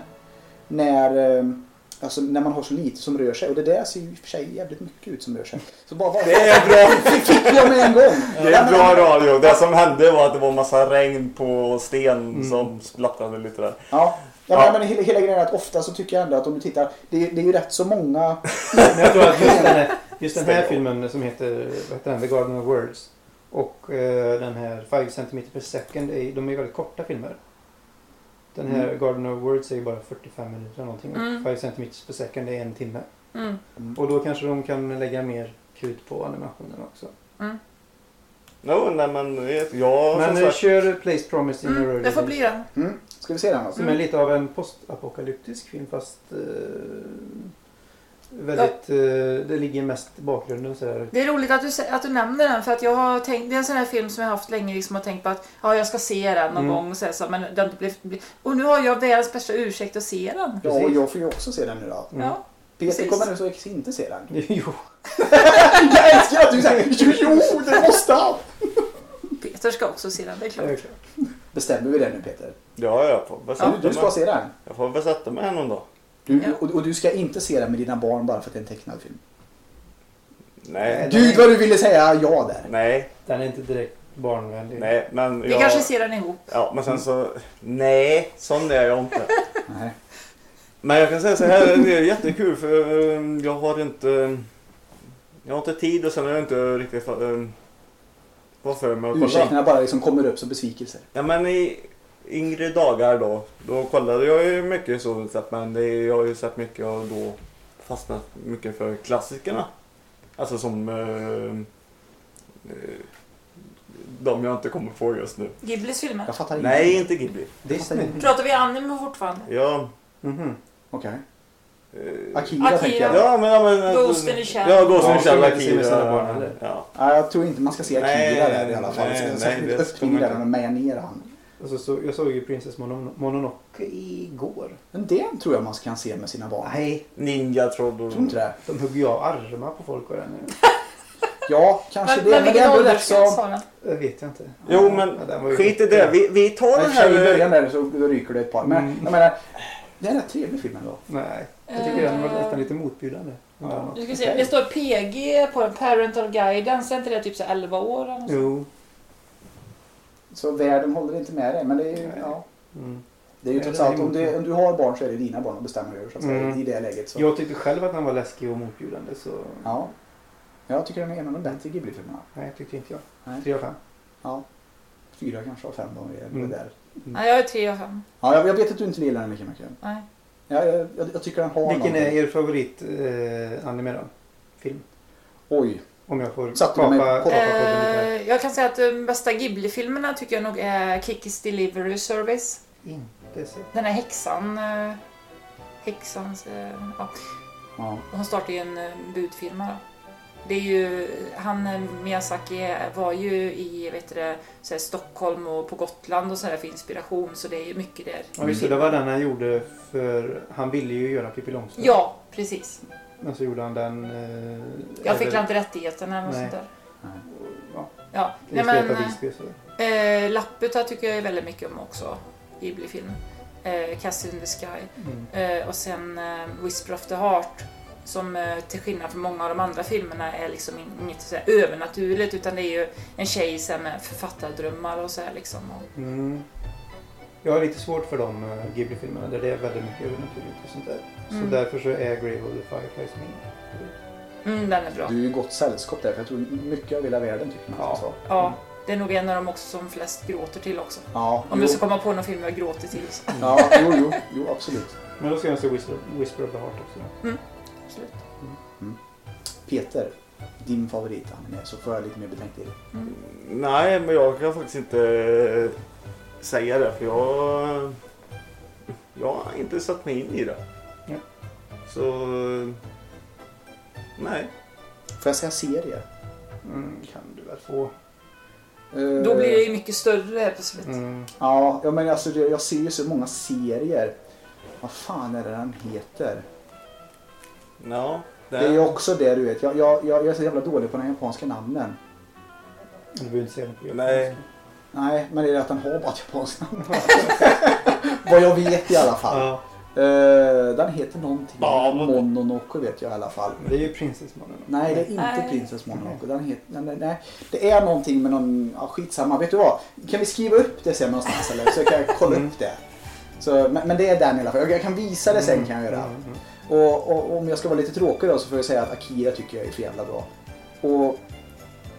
S1: när, eh, alltså, när man har så lite som rör sig. Och det där ser ju i och för sig jävligt mycket ut som rör sig. Så bara, bara
S5: Det är bra,
S1: fick jag med en gång!
S5: det är bra radio. Det som hände var att det var massa regn på sten
S3: Mm.
S5: som splattrade lite där.
S1: Ja. Ja,
S5: Ja.
S1: men- men hela, hela grejen är att ofta så tycker jag ändå att om du tittar, det, det är ju rätt så många...
S4: Men jag tror att just den här, just den här
S5: Stäng av.
S4: filmen som heter vad heter den, The Garden of Words och eh, den här 5 cm per second, är, de är ju väldigt korta filmer. Den här
S5: Mm.
S4: Garden of Words är ju bara 45 minuter eller någonting
S2: Mm.
S4: och 5 cm per second är en timme.
S2: Mm.
S4: Och då kanske de kan lägga mer krut på animationen också.
S5: Jo, nej men det- jag
S4: Men
S5: som
S4: eh,
S5: sagt.
S4: kör Place Promised in
S2: Mm.
S4: Early
S2: Det får
S4: Days.
S2: bli den.
S1: Mm. Ska vi se den alltså?
S4: Som är lite av en postapokalyptisk film fast eh, väldigt, eh, det ligger mest i bakgrunden så här.
S2: Det är roligt att du, sä- att du nämner den för att jag har tänkt, det är en sån här film som jag haft länge liksom har tänkt på att ja, jag ska se den någon
S4: Mm.
S2: gång och så, här så men det har inte blivit, blivit- Och nu har jag världens bästa ursäkt att se den.
S1: Ja,
S4: Precis.
S1: jag får ju också se den nu då.
S4: Mm.
S2: Ja.
S1: Peter
S2: Precis.
S1: kommer nu så jag inte se den.
S4: jo.
S1: Jag älskar att du säger jo, jo, det måste han!
S2: Peter ska också se den, det är
S4: det är
S2: klart.
S4: klart.
S1: Bestämmer vi det nu Peter?
S5: Ja, jag får väl
S1: Du,
S5: sätta
S1: du ska
S5: mig.
S1: se den.
S5: Jag får väl sätta mig här någon dag.
S1: Du,
S2: Ja.
S1: och, och du ska inte se den med dina barn bara för att det är en tecknad film.
S5: Nej,
S1: Gud vad du ville säga ja där.
S5: nej,
S4: Den är inte direkt barnvänlig.
S5: nej. Men
S2: Vi
S5: jag,
S2: kanske ser den ihop.
S5: Ja, men sen så... Nej, sån är jag inte.
S1: Nej.
S5: Men jag kan säga så här, det är jättekul för eh, jag har inte... Jag har inte tid och sen har jag inte riktigt eh, vad för mig att kolla.
S1: Ursäkterna bara liksom kommer upp som besvikelser.
S5: Ja men i yngre dagar då, då kollade jag ju mycket så sett, men det, jag har ju sett mycket och då fastnat mycket för klassikerna. Alltså som eh, eh, de jag inte kommer på just nu.
S2: Ghiblis filmer.
S1: Jag fattar inte.
S5: Nej, inte Ghibli.
S4: Disney.
S2: Pratar vi anime fortfarande?
S5: Ja,
S4: Mhm.
S1: Okej.
S5: eh,
S1: Akira,
S2: Akira.
S1: tänker jag. Ja.
S5: ja men... Ja, men
S2: Ghost in the Shell.
S5: Ja, Ghost in
S4: Ja,
S5: the Shell.
S4: som inte ser med sina barn
S5: Akira.
S4: heller.
S5: Ja.
S1: jag tror inte man ska se Akira
S5: Nej,
S1: där i alla fall.
S5: nej,
S1: Nej,
S5: nej,
S1: Särskilt
S5: det ska man
S1: öppningen där
S5: inte.
S1: när de mejar ner han.
S4: Och så, så, jag såg ju Princess Monono- Mononoke igår.
S1: Men det tror jag man kan se med sina barn.
S4: Nej,
S5: Ninja Troll.
S1: Tror inte det?
S4: de hugger ju av armar på folk och den.
S1: Ja, kanske
S2: Men,
S1: det.
S2: men
S1: Men det
S2: vilken
S1: är ändå rätt
S2: åldersgräns
S1: så...
S2: har den?
S4: Det vet jag inte.
S5: Jo
S4: Ja,
S5: men
S4: den var ju
S5: skit i
S4: skit.
S5: det. Vi, vi tar den
S1: Men I början
S5: här...
S1: där så då ryker det ett par. Men
S4: Mm.
S1: jag menar, det är en rätt trevlig film ändå.
S4: Nej, jag tycker den var nästan lite motbjudande.
S1: Ja.
S2: Nu ska vi se. Det står PG på den, Parental Guidance. Är inte det typ så här 11 år? eller något sånt?
S4: Jo.
S1: Så världen håller inte med dig. Men det är ju,
S4: Nej.
S1: ja.
S4: Mm.
S1: Det är ju
S4: Nej,
S1: trots
S4: det är
S1: allt, om du, om du har barn så är det dina barn och bestämmer över så att säga,
S4: Mm.
S1: i det läget. Så.
S4: Jag tyckte själv att den var läskig och motbjudande så...
S1: Ja. Jag tycker den är en av de bättre Ghibli-filmerna.
S4: Nej, tyckte inte jag.
S1: Nej.
S4: 3 av 5.
S1: Ja. Fyra kanske av fem då. Är
S4: Mm.
S1: där.
S2: Nej, jag är tre av fem.
S1: Ja, jag, jag vet att du inte gillar den lika mycket.
S2: Nej.
S1: Ja, jag, jag, jag tycker den har
S4: Vilken är
S1: någonting.
S4: er favorit eh, anime då? Film?
S1: Oj.
S4: Om jag får
S1: Satte du mig på-
S4: podden lite.
S2: Eh, jag kan säga att de bästa Ghibli-filmerna tycker jag nog är Kikis Delivery Service.
S4: Inte sett.
S2: Den här häxan... eh, Häxans... eh, Ja.
S1: Ja.
S2: Hon startade ju en eh, budfirma då. Det är ju, han eh, Miyazaki var ju i vet du, det, så här Stockholm och på Gotland och sådär för inspiration så det är ju mycket där.
S4: Ja just det, det var den han gjorde för han ville ju göra Pippi Långstrump.
S2: Ja, precis.
S4: Men så gjorde han den... Eh,
S2: Jag fick
S4: över-
S2: inte rättigheterna eller något
S4: Nej.
S2: sånt där.
S4: Ja,
S2: Ja.
S4: det
S2: Nej,
S4: är
S2: men,
S4: Greta Visby. så.
S2: eh, Lapputa tycker jag är väldigt mycket om också. Ghibli-film. Eh, Castle in the Sky.
S4: Mm.
S2: Eh, och sen eh, Whisper of the Heart som eh, till skillnad från många av de andra filmerna är liksom in- inget så här, övernaturligt utan det är ju en tjej så här, med författardrömmar och så här liksom. Och,
S4: Mm. Jag har lite svårt för de eh, Ghibli-filmerna där det är väldigt mycket övernaturligt och sånt där. Så
S2: Mm.
S4: därför så är Grave of the Fireflies min.
S2: mm, den är bra.
S1: Du är ju gott sällskap där, för jag tror mycket av hela världen tycker man
S4: Ja.
S1: så.
S2: Ja, det är nog en av dem också som flest gråter till också.
S1: Ja,
S2: Om
S1: jo.
S2: jag ska komma på någon film jag gråter till så
S1: Ja, jo, jo, jo, absolut.
S4: Men då ska jag se Whisper, Whisper of the Heart också.
S2: absolut.
S1: Peter, din favorit anime, så får jag lite mer betänketid.
S3: Nej, men jag kan faktiskt inte eh, säga det för jag... Jag har inte satt mig in i det.
S4: Ja.
S3: Så... eh, Nej.
S1: Får jag säga serie?
S4: Mm, kan du väl få.
S1: Eh,
S2: Då blir det ju mycket större här på slutet.
S4: Mm.
S1: Ja, ja, men alltså, det- jag ser ju så många serier. Vad fan är det den heter?
S3: Ja.
S1: Det är ju också det du vet. Jag, jag, jag, jag är så jävla dålig på de japanska namnen.
S4: Du behöver inte säga något på
S3: Nej.
S4: japanska.
S1: Nej, men det är det att den har bara ett japanskt namn. Vad jag vet i alla fall.
S4: Ja,
S1: Eh, den heter någonting.
S3: Ja, men-
S1: Mononoke vet jag i alla fall.
S4: men det är ju Prinsessmannen.
S1: Nej, det är inte
S2: Nej.
S1: Princess Mononoke. Den heter, nej, nej, nej. Det är någonting med någon... Ja, skitsamma. Vet du vad? Kan vi skriva upp det sen någonstans eller? Så jag kan kolla
S4: Mm.
S1: upp det. Så, men, men det är den i alla fall. Jag, jag kan visa det sen kan jag göra.
S4: Mm, mm.
S1: Och, och om jag ska vara lite tråkig då så får jag säga att Akira tycker jag är för jävla bra. Och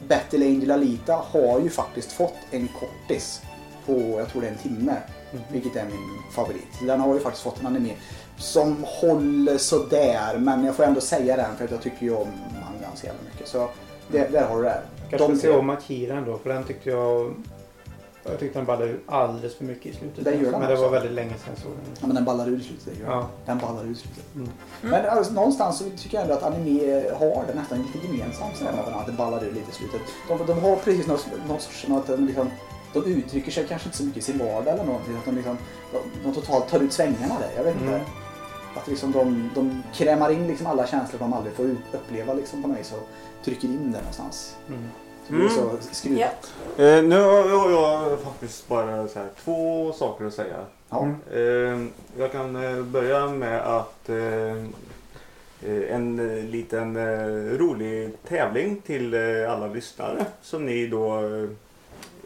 S1: Battle Angel Alita har ju faktiskt fått en kortis på, jag tror det är en timme.
S4: Mm.
S1: Vilket är min favorit. Den har ju faktiskt fått en anime som håller sådär. Men jag får ändå säga den för att jag tycker ju om han ganska jävla mycket. Så det, där har du det.
S4: Kanske
S1: De
S4: ska se
S1: tre.
S4: om Akira då, för den tyckte jag... Jag tyckte den ballade ur alldeles för mycket i slutet.
S1: Den gör den
S4: men det var
S1: också.
S4: väldigt länge sedan jag såg den.
S1: Ja, men den ballar ur i slutet. det gör den.
S4: Ja.
S1: Den ballar ur i slutet.
S4: Mm.
S1: Men alltså, någonstans så tycker jag ändå att anime har det nästan lite gemensamt. Sådär, med varandra, att det ballar ur lite i slutet. De, de har precis något, något sorts... Något, de liksom, de uttrycker sig kanske inte så mycket i sin vardag eller någonting. Att de, liksom, de, de totalt tar ut svängarna där. Jag vet
S4: Mm.
S1: inte. Att liksom de, de krämar in liksom alla känslor de aldrig får ut, uppleva liksom på något vis och trycker in det någonstans.
S4: Mm.
S1: Så det blir så
S3: Mm.
S1: skruvat.
S2: Ja.
S3: Eh, nu har jag, jag har faktiskt bara så här, två saker att säga.
S1: Ja.
S4: Mm.
S3: Eh, jag kan eh, börja med att eh, eh, en eh, liten eh, rolig tävling till eh, alla lyssnare som ni då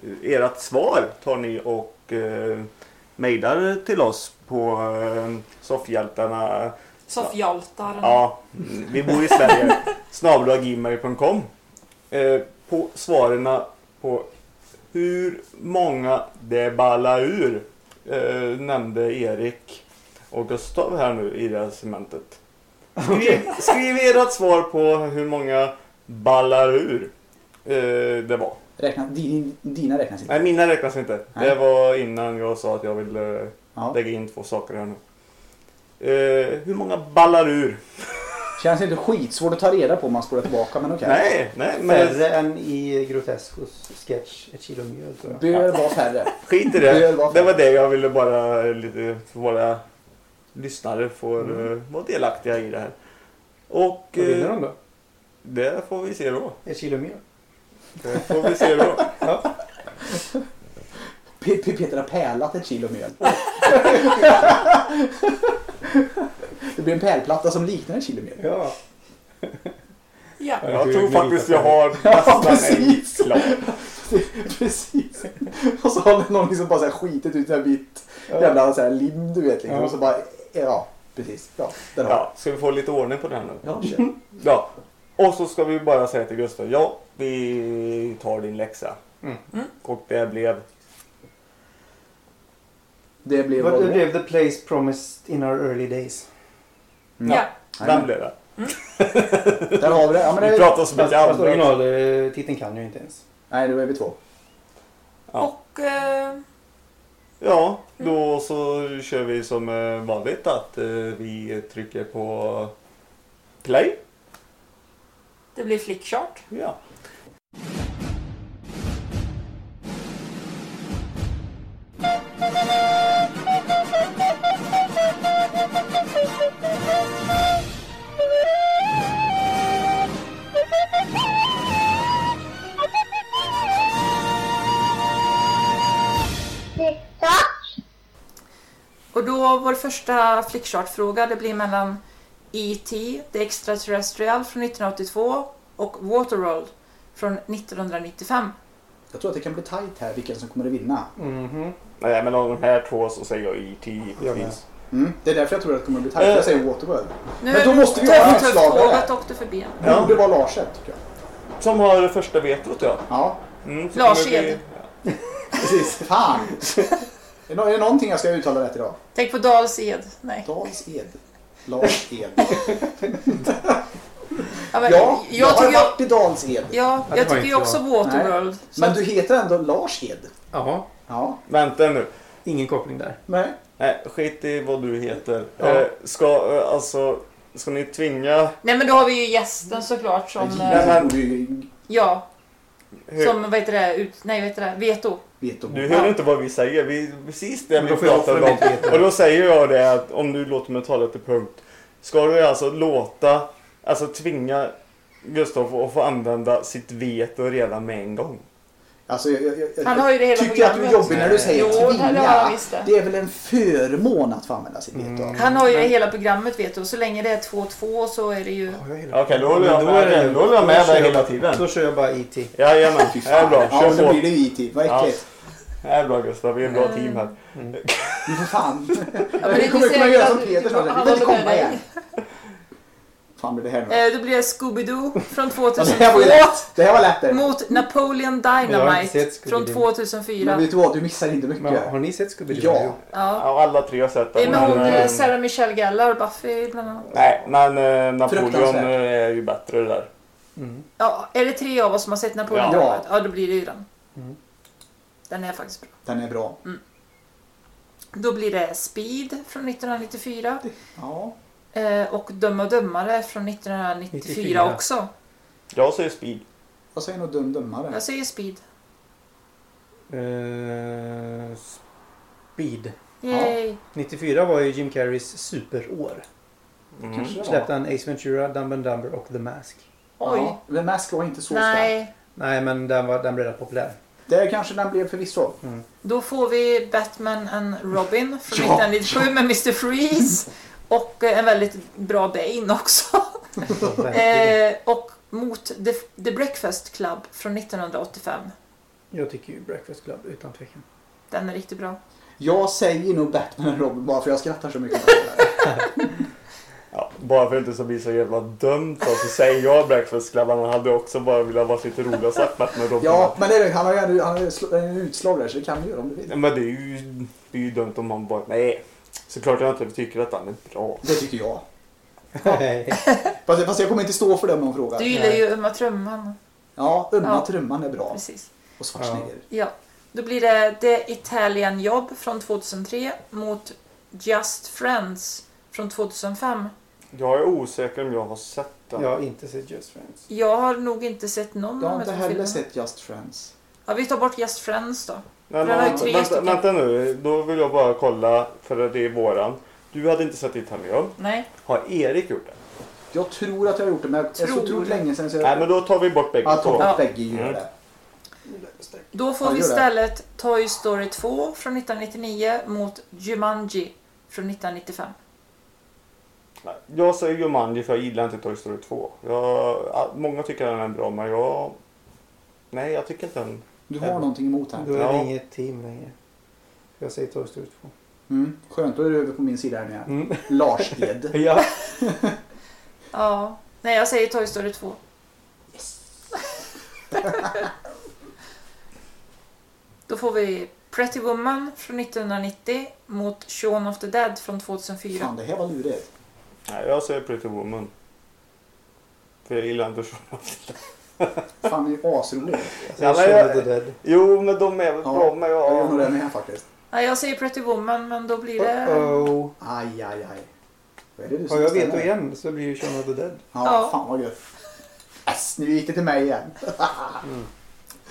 S3: eh, ert svar tar ni och eh, mejlar till oss på eh, soffhjältarna.
S2: Soffhjältar.
S3: Ja, vi bor i Sverige. Snabelagimail.com eh, På svaren på hur många det ballar ur eh, nämnde Erik och Gustav här nu i det här segmentet. Skriv, skriv ert svar på hur många ballar ur eh, det var.
S1: Räkna, din, dina räknas inte.
S3: Nej, mina räknas inte. Det
S1: Nej.
S3: var innan jag sa att jag ville
S1: Ja.
S3: lägga in två saker här nu. Eh, hur många ballar ur?
S1: Känns inte skitsvårt att ta reda på om man spolar tillbaka men okej.
S3: Nej, nej, men
S4: Färre än i Grotescos sketch Ett kilo mjöl tror jag.
S1: Bör vara färre.
S3: Skit i
S1: Det
S3: det.
S1: var-
S3: Det var det jag ville bara lite för våra lyssnare får eh, vara delaktiga i det här. Och
S4: Vad vinner
S3: eh,
S4: de då?
S3: det får vi se då.
S4: Ett kilo mjöl?
S3: Det får vi se då.
S1: P- P- Peter har pärlat ett kilo mjöl. det blir en pärlplatta som liknar ett kilo mjöl.
S4: Ja.
S2: Ja.
S3: Jag tror faktiskt jag har nästan en
S1: precis.
S3: klar.
S1: Precis. Och så har någon liksom bara så här skitit ut en vitt jävla så här lim du vet. Liksom.
S4: Ja.
S1: Och så bara, ja precis. Ja, den har
S3: Ja, ska vi få lite ordning på det här nu?
S1: jag. Ja, kör.
S3: Ja. Och så ska vi bara säga till Gustav, ja, vi tar din läxa.
S4: Mm.
S2: Mm.
S3: Och det blev...
S1: Det blev
S4: Vad
S1: vad
S4: det
S1: det blev.
S4: blev the place promised in our early days.
S1: Mm.
S2: Ja.
S3: Vem blev det?
S1: Där har vi det. Ja, men
S3: Vi
S1: det
S3: pratar så
S4: Fast,
S3: mycket
S4: fast
S3: annat.
S4: originaltiteln kan ju inte ens.
S1: nej, då är vi två.
S3: Ja.
S2: Och eh,
S3: Ja, då så kör vi som eh, vanligt att eh, vi trycker på play.
S2: det blir flickchart.
S3: Ja.
S2: Och då vår första flickchartfråga det blir mellan E.T. The Extraterrestrial från 1982 och Waterworld från 1995.
S1: Jag tror att det kan bli tight här vilken som kommer att vinna.
S4: Mhm.
S3: Nej, men av de här två så säger jag E IT.
S4: Jag med.
S3: givetvis.
S1: Mm. Det är därför jag tror att det kommer att bli tight. Jag säger Waterworld.
S2: Nu
S1: Men då
S2: är
S1: måste vi
S2: tuff,
S1: göra en
S2: tuff
S1: utslagare.
S2: fråga, tog du förbi en.
S1: Det borde vara Larset tycker jag.
S3: Som har första vetot ja.
S1: Ja,
S3: Mm, så
S2: Lars
S3: kommer det bli-
S2: Ed.
S1: precis. Fan! är det nå- är det någonting jag ska uttala rätt idag?
S2: Tänk på Dals Ed. Nej.
S1: Dals Ed. Lars Ed.
S2: Ja, men,
S1: Ja, jag
S2: jag
S1: har
S2: tycker, jag,
S1: varit i Dals Ed.
S2: ja,
S4: det
S2: jag
S4: var
S2: tycker ju
S4: inte
S2: också
S4: jag.
S2: Waterworld. Så
S1: Men du heter ändå Lars Ed.
S4: Jaha,
S1: Ja.
S3: Vänta nu.
S4: ingen koppling där.
S1: Nej.
S3: Nej, skit i vad du heter.
S4: Ja.
S3: Eh, ska, eh, alltså, ska ni tvinga
S2: Nej men då har vi ju gästen såklart som...
S1: Nej,
S2: eh,
S1: men... borde ju-
S2: Ja,
S3: Hur?
S2: som vad heter det? Ut, nej vad heter det? Veto.
S1: Vet om.
S3: Du hör inte vad vi säger. Vi, precis det
S4: Men då
S3: vi
S4: får jag
S3: pratar
S4: offra
S3: om.
S4: mitt veto.
S3: Och då säger jag det att om du låter mig tala till punkt. Ska du alltså låta, alltså tvinga Gustav att få använda sitt veto redan med en gång?
S1: Alltså, jag, jag, jag,
S2: Han har ju det hela
S1: tycker jag att du är
S2: programmet.
S1: jobbig när du säger
S2: Jo, det har jag
S1: tvinga.
S2: visst det.
S1: Det är väl en förmån att få använda sitt
S3: Mm.
S1: veto.
S2: Han har ju
S1: Mm.
S2: hela programmet vet du. Så länge det är 2-2 så är det ju...
S3: Okej, då håller jag
S4: Men
S3: med
S4: är det-
S3: dig. Då håller jag med
S4: då kör
S3: dig
S4: jag-
S3: hela tiden.
S4: Då kör jag bara E E.T.
S3: Jajamän,
S1: Fy
S3: det är bra.
S1: Ja, men
S3: Kör
S1: då
S3: på.
S1: blir det ju IT. Vad
S3: Ja.
S1: äckligt.
S3: Det är bra Gustav, vi är ett bra team här.
S1: För fan.
S2: Ja, men
S1: Vi kommer
S2: säkert
S1: kunna göra
S2: att-
S1: som Peter snart.
S2: han
S1: Vi vill inte
S2: håller med
S1: komma
S2: dig.
S1: igen. Fan blir det här nu?
S2: Eh, Då blir det Scooby-Doo från
S1: Ja, det här var ju
S2: 2002
S1: lätt. Det här var lätt. det.
S2: mot Napoleon
S4: jag har inte
S2: Dynamite
S4: sett
S2: från
S4: Scooby-Doo.
S1: Men
S2: 2004.
S1: vet du vad? Du missar inte
S4: Men
S1: mycket.
S4: har ni sett Scooby-Doo?
S1: Ja.
S2: Ja.
S3: Ja, alla tre har sett
S2: Det är
S3: den.
S2: med hon
S3: men,
S2: eh,
S3: eh,
S2: Sarah Michelle Gellar, Buffy bland annat.
S3: Nej, men eh, Napoleon
S1: Fruktansvärt.
S3: eh, är ju bättre där.
S4: Mm.
S2: Ja, är det tre av oss som har sett Napoleon
S1: Ja.
S2: Dynamite? Ja, då blir det ju den.
S4: Mm.
S2: Den är faktiskt bra.
S1: Den är bra.
S2: Mm. Då blir det Speed från 1994
S1: Ja.
S2: eh, och Döm och dömare från 1994
S4: 94.
S2: också.
S3: Jag säger Speed.
S1: Vad säger nog dum dummare?
S2: Jag säger Speed.
S4: Eh, Speed.
S2: Yay.
S4: 94 var ju Jim Carreys superår.
S3: Mm.
S1: Kanske det var.
S4: Släppte han Ace Ventura, Dumb and Dumber och The Mask.
S2: Oj.
S1: Ja, The Mask var inte så stark.
S2: Nej,
S4: Nej, men den, var, den blev rätt populär.
S1: Där kanske den blev förvisso.
S2: då får vi Batman and Robin från
S1: Ja.
S2: 1997 med Mr. Freeze och eh, en väldigt bra Bane också. eh, och mot The, The Breakfast Club från 1985.
S4: Jag tycker ju Breakfast Club utan tvekan.
S2: Den är riktigt bra.
S1: Jag säger nog Batman och Robin bara för jag skrattar så mycket. åt det där.
S3: Ja, bara för att det inte ska bli så jävla dumt alltså, säger jag Breakfast Club, men han hade också bara velat vara lite rolig och sagt med Robin.
S1: ja, men det är, det. han har ju ändå- han har ju sl- en utslag där så det kan du göra om du vill.
S3: Men det är ju, det är ju dumt om man bara, nej. Såklart jag inte tycker att han är bra.
S1: Det tycker jag.
S4: Nej.
S1: Fast, fast jag kommer inte stå för det om någon
S2: Du
S1: frågar.
S2: gillar ju Uma Trumman.
S1: Ja, Umma
S2: Ja.
S1: Trumman är bra.
S2: Precis.
S1: Och Schwarzenegger.
S2: Ja, då blir det The Italian Job från 2003 mot Just Friends från 2005.
S3: Jag är osäker om jag har sett den.
S4: jag har inte sett Just Friends.
S2: Jag har nog inte sett någon
S1: Jag har
S2: av
S1: inte
S2: de här
S1: heller
S2: filmerna.
S1: sett Just Friends.
S2: Ja, vi tar bort Just Friends då.
S3: Nej,
S2: Den har ju
S3: men,
S2: tre
S3: vänta,
S2: stycken.
S3: vänta nu, då vill jag bara kolla, för det är våran. Du hade inte sett Italian.
S2: Nej.
S3: Har Erik gjort det?
S1: Jag tror att jag har gjort det men jag- det är så
S2: Tror.
S1: otroligt länge sedan så
S3: Nej,
S1: jag...
S3: men då tar vi bort bägge
S1: Ja,
S3: två.
S1: Tom Peggy gör
S3: Mm.
S1: det.
S2: Då får
S1: Ja,
S2: vi
S1: gör det.
S2: istället Toy Story 2 från 1999 mot Jumanji från 1995.
S3: Nej, Jag säger Jumanji för jag gillar inte Toy Story 2. Jag, ja, många tycker den är bra, men jag... Nej, jag tycker inte den...
S1: Du
S3: Ja.
S1: har någonting emot
S4: Då
S1: här.
S4: är det
S3: Ja.
S4: inget team längre. Jag säger Toy Story 2.
S1: Mm. Skönt, då är du över på min sida här nu igen.
S4: Mm.
S1: Lars Ed.
S4: Ja.
S2: Ja. Nej, jag säger Toy Story 2. Då får vi Pretty Woman från 1990 mot Shaun of the Dead från 2004.
S1: Fan, det här var lurigt.
S3: Nej, jag säger Pretty Woman. För jag gillar inte Shaun of the Dead.
S1: Fan, det är ju asroligt.
S3: Ja, men
S4: Shaun of the
S3: jag,
S4: Dead.
S3: jo, men de är väl
S1: Ja,
S3: bra med.
S1: Jag gör nog
S3: Ja.
S1: det med faktiskt.
S2: Nej, jag säger Pretty Woman men då blir det...
S4: Uh-oh.
S1: Aj, aj, aj. Vad är det du som
S4: Har jag
S1: bestämmer?
S4: veto igen så blir ju Shaun of the Dead.
S1: Ja,
S2: Ja.
S1: fan vad gött. Yes, nu gick det till mig igen.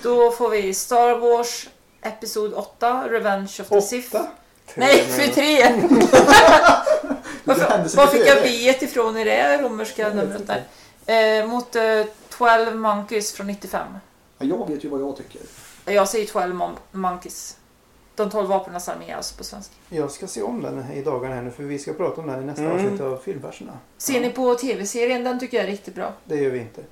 S2: Då får vi Star Wars Episod 8, Revenge of the Sith.
S4: Åtta?
S2: Nej, 23!
S1: hände
S2: Varför,
S1: så
S2: var
S1: mycket
S2: fick jag
S1: över.
S2: biet ifrån i det romerska numret där? Eh, mot eh, 12 Monkeys från 95.
S1: Ja, jag vet ju vad jag tycker.
S2: Jag säger 12 mon- Monkeys. De 12 vapenas armé alltså på svenska.
S4: Jag ska se om den här i dagarna här nu för vi ska prata om den här i nästa
S3: Mm.
S4: avsnitt av filmverserna.
S2: Ser ni på tv-serien? Den tycker jag är riktigt bra.
S4: Det gör vi inte.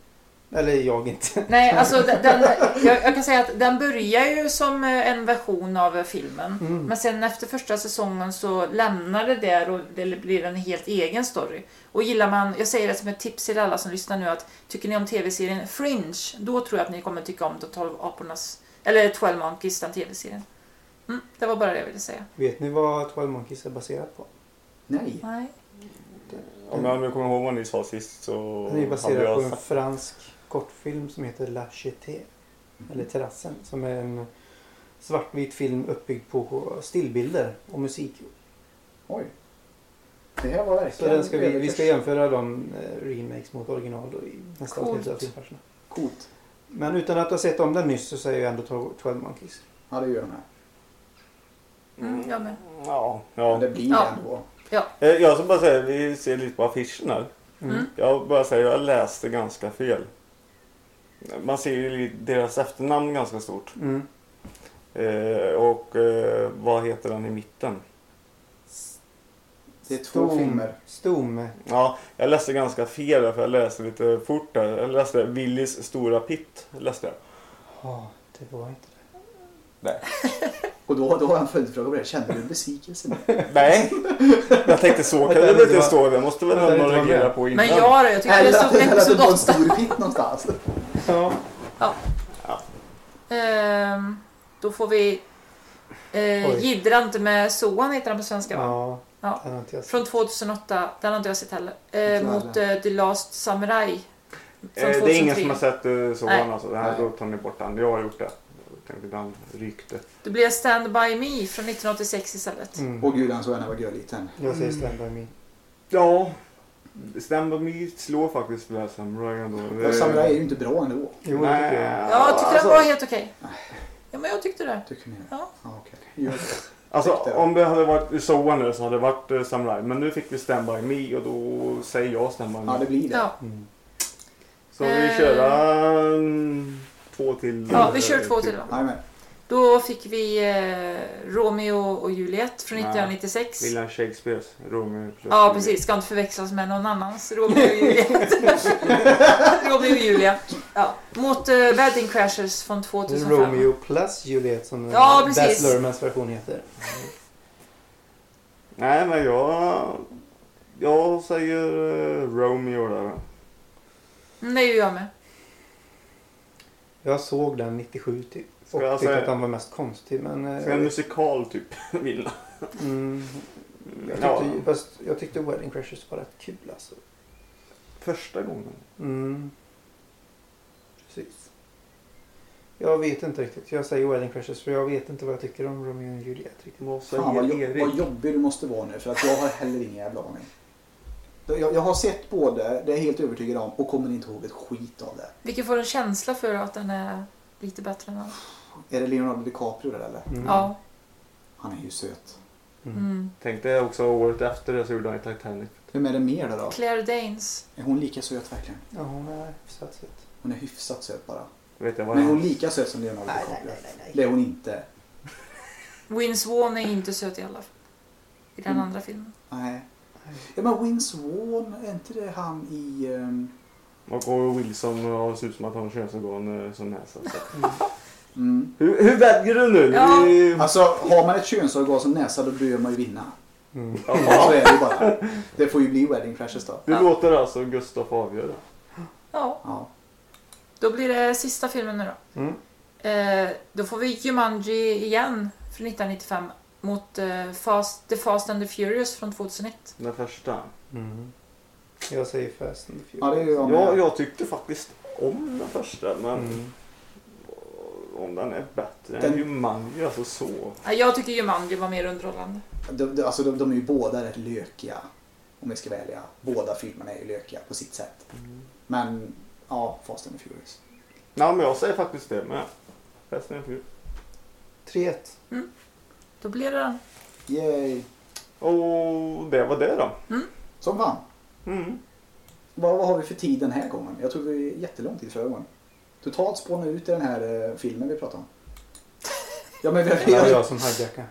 S4: Eller jag inte.
S2: Nej, alltså den, den, jag, jag kan säga att den börjar ju som eh, en version av eh, filmen.
S4: Mm.
S2: Men sen efter första säsongen så lämnar det där och det blir en helt egen story. Och gillar man, jag säger det som ett tips till alla som lyssnar nu att tycker ni om tv-serien Fringe, då tror jag att ni kommer tycka om The 12 apornas, eller 12 Monkeys, den tv-serien. Mm, det var bara det jag ville säga.
S4: Vet ni vad 12 Monkeys är baserat på?
S1: Nej.
S2: Nej.
S3: Om jag nu kommer ihåg vad ni sa sist så
S4: Den är
S3: hade
S4: baserad
S3: jag
S4: på en
S3: sagt-
S4: fransk kortfilm som heter La Cheté.
S3: Mhm.
S4: Eller Terrassen. Som är en svartvit film uppbyggd på stillbilder och musik.
S1: Oj. Det här var
S4: Så
S1: verkligen
S4: den ska vi, vi ska
S1: överkurs.
S4: jämföra de eh, remakes mot original då i nästa
S2: Coolt.
S4: avsnitt av filmverserna.
S1: Coolt.
S4: Men utan att ha sett om den nyss så säger jag ändå 12 12 Monkeys.
S1: Ja, det gör jag med.
S2: Mm, jag med.
S3: Ja,
S1: Men
S3: ja.
S1: det blir
S2: Ja.
S1: det ändå.
S3: Eh, Jag ska bara säga, vi ser lite på affischen här.
S4: Mm.
S3: Jag bara säger, jag läste ganska fel. Man ser ju li- deras efternamn ganska stort.
S4: Mm.
S3: Eh, och eh, vad heter den i mitten?
S1: Det är två filmer.
S4: Stom.
S3: Ja, jag läste ganska fel där, för jag läste lite fort där. Jag läste Willys stora pitt. Läste jag.
S4: Ja, det var inte det.
S1: Och då, då har jag en följdfråga på det. Kände du besvikelse nu?
S3: Nej, jag tänkte så kan
S4: Vänta,
S3: det
S4: det
S3: inte
S4: var-
S3: stå. Det måste väl
S4: Vänta, det
S3: någon
S4: var med.
S3: reagera på innan.
S2: Men jag då? Jag tycker det
S1: Eller att
S2: stod
S1: eller att det
S2: episod
S1: var en
S2: 8.
S1: stor hit någonstans.
S4: Ja.
S2: Ehm, då får vi eh,
S4: Oj.
S2: Jiddra inte med Soan heter den på svenska va?
S4: Ja.
S2: Ja.
S4: Den har inte jag sett.
S2: Från 2008, den har inte jag sett heller.
S1: Inte
S2: Eh,
S1: jag
S2: mot eh, The Last Samurai.
S3: Eh,
S2: Från
S3: det är ingen
S2: 2003.
S3: som har sett eh, sådan
S2: Nej.
S3: alltså. Den här,
S1: Nej.
S3: då tar ni bort den. Jag har gjort det. Jag tänkte den rykte.
S2: Det blir Stand By Me från 1986 istället.
S4: Mm.
S1: Åh gud, han såg när jag var görliten.
S4: Jag säger Stand By Me.
S3: Ja, Stand By Me slår faktiskt Blair Samurai ändå.
S1: Ja, Samurai är ju inte bra ändå.
S4: Jo, det
S3: Nej.
S4: tycker jag.
S2: Ja, jag tyckte
S3: alltså,
S2: den var helt okej. Ja, men jag tyckte det.
S1: Tycker ni det?
S2: Ja.
S1: Ja, okej. Gör det.
S3: alltså,
S1: tyckte jag.
S3: om det hade varit Soa nu så hade det varit eh, Samurai. Men nu fick vi Stand By Me och då säger jag Stand By Me.
S1: Ja, det blir det.
S2: Ja.
S4: Mm.
S3: Så vi
S2: Eh.
S3: kör mm, två till.
S2: ja, vi
S3: eh,
S2: kör två till då.
S1: Jajamän.
S2: Då fick vi eh, Romeo och Juliet från
S3: Ja.
S2: 1996.
S3: William Shakespeares Romeo plus
S2: Ja,
S3: Julia.
S2: precis. Ska inte förväxlas med någon annans. Romeo och Juliet. Romeo och Julia. Ja. Mot eh, Wedding Crashers från
S4: Det är
S2: 2005.
S4: Romeo plus Juliet som den
S2: Ja,
S4: här
S2: precis.
S4: Baz Luhrmanns version heter.
S3: Nej, men jag... Jag säger eh, Romeo där.
S2: Mm, det är ju jag med.
S4: Jag såg den 97 typ. Och
S3: Ska jag
S4: tyckte
S3: säga-
S4: att den var mest konstig. Men, eh,
S3: Så en musikal typ vill jag.
S4: mm, jag,
S3: Ja,
S4: tyckte, fast jag tyckte Wedding Crashers var rätt kul alltså.
S3: första gången.
S4: Mm. Precis. Jag vet inte riktigt. Jag säger Wedding Crashers för jag vet inte vad jag tycker om Romeo och Juliet riktigt.
S3: Vad
S1: Fan vad,
S3: säger
S1: jo-
S3: Erik?
S1: vad jobbig du måste vara nu för att jag har heller ingen jävla aning. Jag, jag har sett både, det är jag helt övertygad om, och kommer inte ihåg ett skit av det.
S2: Vilken får en känsla för att den är lite bättre än andra?
S1: Är det Leonardo DiCaprio där eller?
S4: Mm.
S2: Ja.
S1: Han är ju söt.
S2: Mm.
S3: Tänkte också året efter det så gjorde han i Titanic.
S1: Vem är det mer då? då?
S2: Claire Danes.
S1: Är hon lika söt verkligen?
S4: Ja, hon är hyfsat söt.
S1: Hon är hyfsat söt bara.
S3: Vet jag vad
S1: Men är hon
S3: han...
S1: lika söt som Leonardo DiCaprio? Det är hon inte.
S2: Win Swan är inte söt i alla fall. I
S4: Mm.
S2: den andra filmen.
S1: Nej. Ja men Win Swan, är inte det han i... ehm,
S3: Och Owen Wilson och ser ut som att han har könsorgan eh, som näsa. Så.
S1: Mm.
S3: Hur, hur väljer du nu?
S2: Ja.
S3: Vi-
S1: Alltså har man ett könsorgan som näsa då bör man ju vinna.
S4: Mm.
S1: Så är det ju bara. Det får ju bli Wedding Crashers då.
S3: Du
S2: Ja.
S3: låter alltså Gustaf avgöra.
S2: Ja.
S1: Ja.
S2: Då blir det sista filmen nu då.
S4: Mm.
S2: Eh, då får vi Jumanji igen från 1995 mot eh, Fast, The Fast and the Furious från 2001.
S3: Den första.
S4: Mm. Jag säger Fast and the
S1: Ja, det är
S4: Furious.
S1: ju jag med.
S3: Ja, jag tyckte faktiskt om den första men
S4: Mm.
S3: om den är bättre
S1: Den-
S3: än Jumanji alltså så.
S2: Nej, Jag tycker Jumanji var mer underhållande.
S1: De, de, alltså de, de är ju båda rätt lökiga. Om jag ska välja. Båda filmerna är ju lökiga på sitt sätt. Men ja, Fast and the Furious.
S3: Nej men jag säger faktiskt det med. Fast and Furious.
S4: 3-1.
S2: Då blir det den.
S1: Yay!
S3: Och det var det då.
S1: Som fan.
S3: Mm.
S1: Vad, vad har vi för tid den här gången? Jag tror vi är jättelång tid förra gången. Totalt spånar ut i den här eh, filmen vi pratade om. Ja, men vi,
S4: Det var jag som hijackade.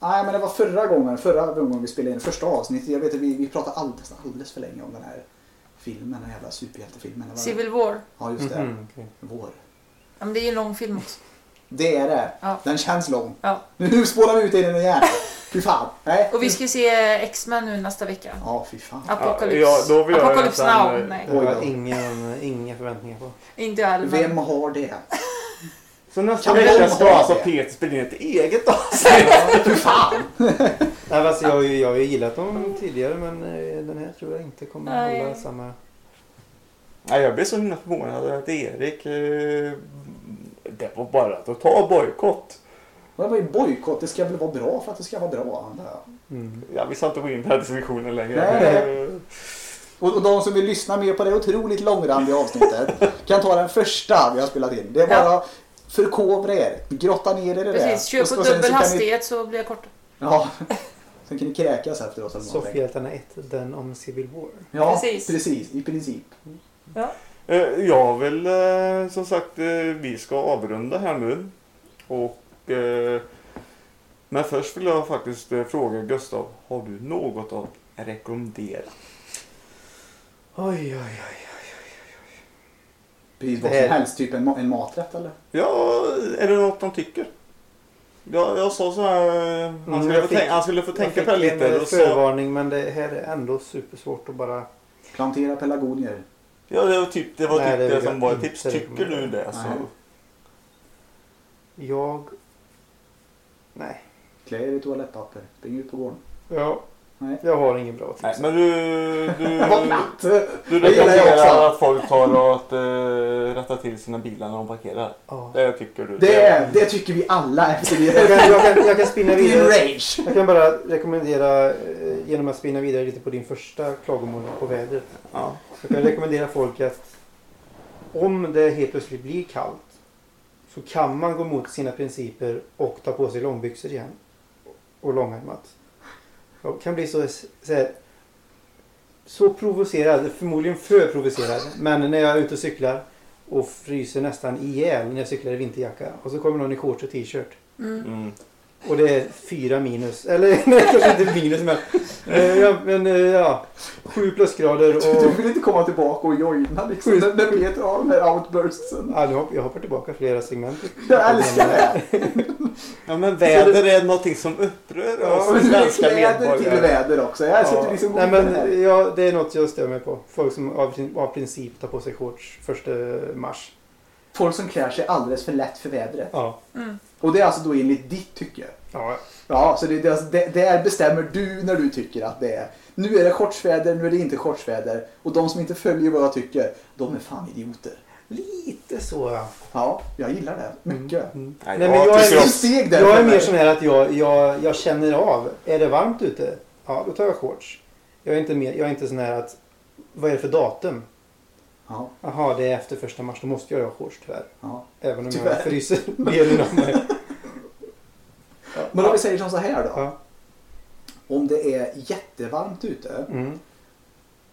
S1: nej, men det var förra gången, förra gången vi spelade in första avsnittet. Jag vet att vi, vi pratade all, nästan alldeles för länge om den här filmen, den här jävla superhjältefilmen. Det var-
S2: Civil War.
S1: Ja, just det.
S4: Mhm, okej.
S1: Vår.
S2: Ja, men det är ju en lång film också.
S1: Det är det.
S2: Ja.
S1: Den känns lång.
S2: Ja.
S1: Nu spånar vi ut i den igen. Fy fan. Nej.
S2: Och vi ska se X-Men nu nästa vecka.
S1: Ja, fy fan.
S2: Apocalypse.
S3: Ja, då vill jag
S2: Apocalypse
S3: nästan,
S2: Now.
S3: eh,
S2: Nej,
S4: Det
S1: Oj
S4: var
S1: då.
S4: ingen, inga förväntningar på.
S2: inte jag heller. men-
S1: Vem har det?
S3: Så nästa
S1: Kan vi
S3: vecka
S1: ha
S3: ska
S1: det?
S3: alltså Peter spela in ett eget avsnitt.
S1: Fy fan.
S4: Nej, men alltså, jag, har ju- jag har ju gillat dem tidigare men eh, den här tror jag inte kommer
S2: Nej.
S4: hålla samma...
S3: Nej, jag blev så himla förvånad att Erik... Eh, det var bara att ta bojkott.
S1: Det var ju bojkott. Det ska väl vara bra för att det ska vara bra, antar jag.
S3: Jag vill inte gå in i den här diskussionen längre.
S1: Nej.
S3: Eh,
S1: Och, och de som vill lyssna mer på det otroligt långrandiga avsnittet kan ta den första vi har spelat in. Det är bara förkovra er, grotta ner er i det.
S2: Precis, kör
S1: Och-
S2: på
S1: och sen så
S2: dubbel
S1: kan ni-
S2: hastighet så blir jag kort.
S1: Ja. Sen kan ni kräkas efteråt eller någonting.
S4: Soffhjältarna 1, den om Civil War.
S1: Ja,
S2: Precis.
S1: precis. precis. I princip.
S3: eh, Jag vill eh, som sagt, eh, vi ska avrunda här nu. Och, eh, men först vill jag faktiskt eh, fråga Gustav, har du något att rekommendera?
S4: Oj, oj, oj.
S1: Precis vad
S4: Det
S1: som
S4: här-
S1: helst. Typ en, ma- en maträtt eller?
S3: Ja, är det något de tycker? Jag, jag sa så här, eh, han skulle,
S4: jag
S3: få,
S4: fick-
S3: tänka- han skulle få tänka
S4: Mm. jag
S3: på det
S4: fick
S3: lite.
S4: en eh,
S3: och så,
S4: förvarning men det här är ändå supersvårt att bara...
S1: Plantera pelargonier.
S3: ja, det var typ det, var
S4: Nej,
S3: typ
S4: det
S3: det,
S4: vill jag
S3: som var ett
S4: inte
S3: tips. Tycker du
S4: rekommendera.
S3: det? Alltså, Så.
S1: Nej.
S4: Jag... Nej.
S1: Klä er i toalettpapper. Spring ut på gården.
S4: Ja.
S1: Nej.
S4: Jag har ingen bra tips.
S3: Nej, men du,
S4: Mm.
S3: du,
S1: Vad platt!
S3: du
S1: Det gillar jag
S3: rekommenderar
S1: också.
S3: att folk tar och att eh, rätta till sina bilar när de parkerar.
S4: Ja.
S3: Det tycker du.
S1: Det, det tycker vi alla efter
S4: Jag,
S1: det.
S4: kan, jag, kan, jag kan spinna
S1: Din
S4: vidare.
S1: rage.
S4: Jag kan bara rekommendera, eh, genom att spinna vidare lite på din första klagomål på vädret.
S3: Ja.
S4: Så kan jag rekommendera folk att om det helt plötsligt blir kallt så kan man gå mot sina principer och ta på sig långbyxor igen. Och långärmat. Jag kan bli så, så, här, så provocerad, förmodligen för provocerad. Men när jag är ute och cyklar och fryser nästan ihjäl när jag cyklar i vinterjacka. Och så kommer någon i shorts och t-shirt.
S3: Mm.
S4: Och det är fyra minus. Eller nej, kanske inte minus men. eh, Ja, men eh, ja. Sju plusgrader och...
S1: Du vill inte komma tillbaka och joina liksom. När när Peter har de här outburstsen.
S4: Ja, nu hopp- jag hoppar tillbaka flera segment.
S1: Jag älskar det!
S3: ja, men väder är någonting som upprör oss
S1: Och du är
S3: svenska
S1: kläder till
S3: medborgare.
S1: väder också. Jag älskar att du
S4: Ja,
S1: liksom går
S4: nej,
S1: in i det här.
S4: men, ja, det är något jag stör mig på. Folk som av, prin- av princip tar på sig shorts första mars.
S1: Folk som klär sig alldeles för lätt för vädret.
S4: Ja.
S1: Och det är alltså då enligt ditt tycke.
S4: ja.
S1: Ja, så det, det, är alltså- det, där bestämmer du när du tycker att det är. Nu är det shortsväder, nu är det inte shortsväder. Och de som inte följer vad jag tycker, de är fan idioter.
S4: Lite så ja.
S1: Ja, jag gillar det mycket.
S3: Nej,
S4: Nej,
S3: jag
S4: men jag är-
S3: tycker
S1: Du
S3: om-
S1: steg där
S4: Jag
S1: för
S4: är mer
S1: mig.
S4: sån här att jag, jag, jag känner av. Är det varmt ute? Ja, då tar jag shorts. Jag är inte, mer, jag är inte sån här att vad är det för datum?
S1: Ja,
S4: Jaha, det är efter första mars. Då måste jag ha shorts tyvärr.
S1: ja.
S4: Även om
S1: Tyvärr.
S4: jag fryser delen av mig.
S1: Men om vi säger som så här då.
S4: Ja.
S1: Om det är jättevarmt ute
S4: Mm.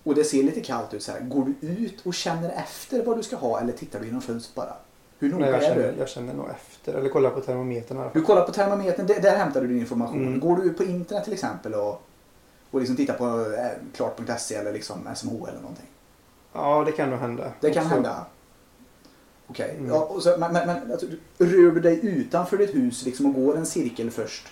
S1: och det ser lite kallt ut så här. Går du ut och känner efter vad du ska ha eller tittar du genom fönstret bara? Hur noga
S4: Nej, jag,
S1: är
S4: känner,
S1: du?
S4: jag känner nog efter. Eller kollar på termometern i alla fall.
S1: Du kollar på termometern, där, där hämtar du din information.
S4: Mm.
S1: Går du ut på internet till exempel och, och liksom tittar på eh, klart.se eller liksom SMH eller någonting?
S4: Ja, det kan nog hända.
S1: Det kan
S4: Också.
S1: hända. Okej,
S4: Mm.
S1: ja, och så- men, men, men alltså, rör du dig utanför ditt hus liksom, och går en cirkel först?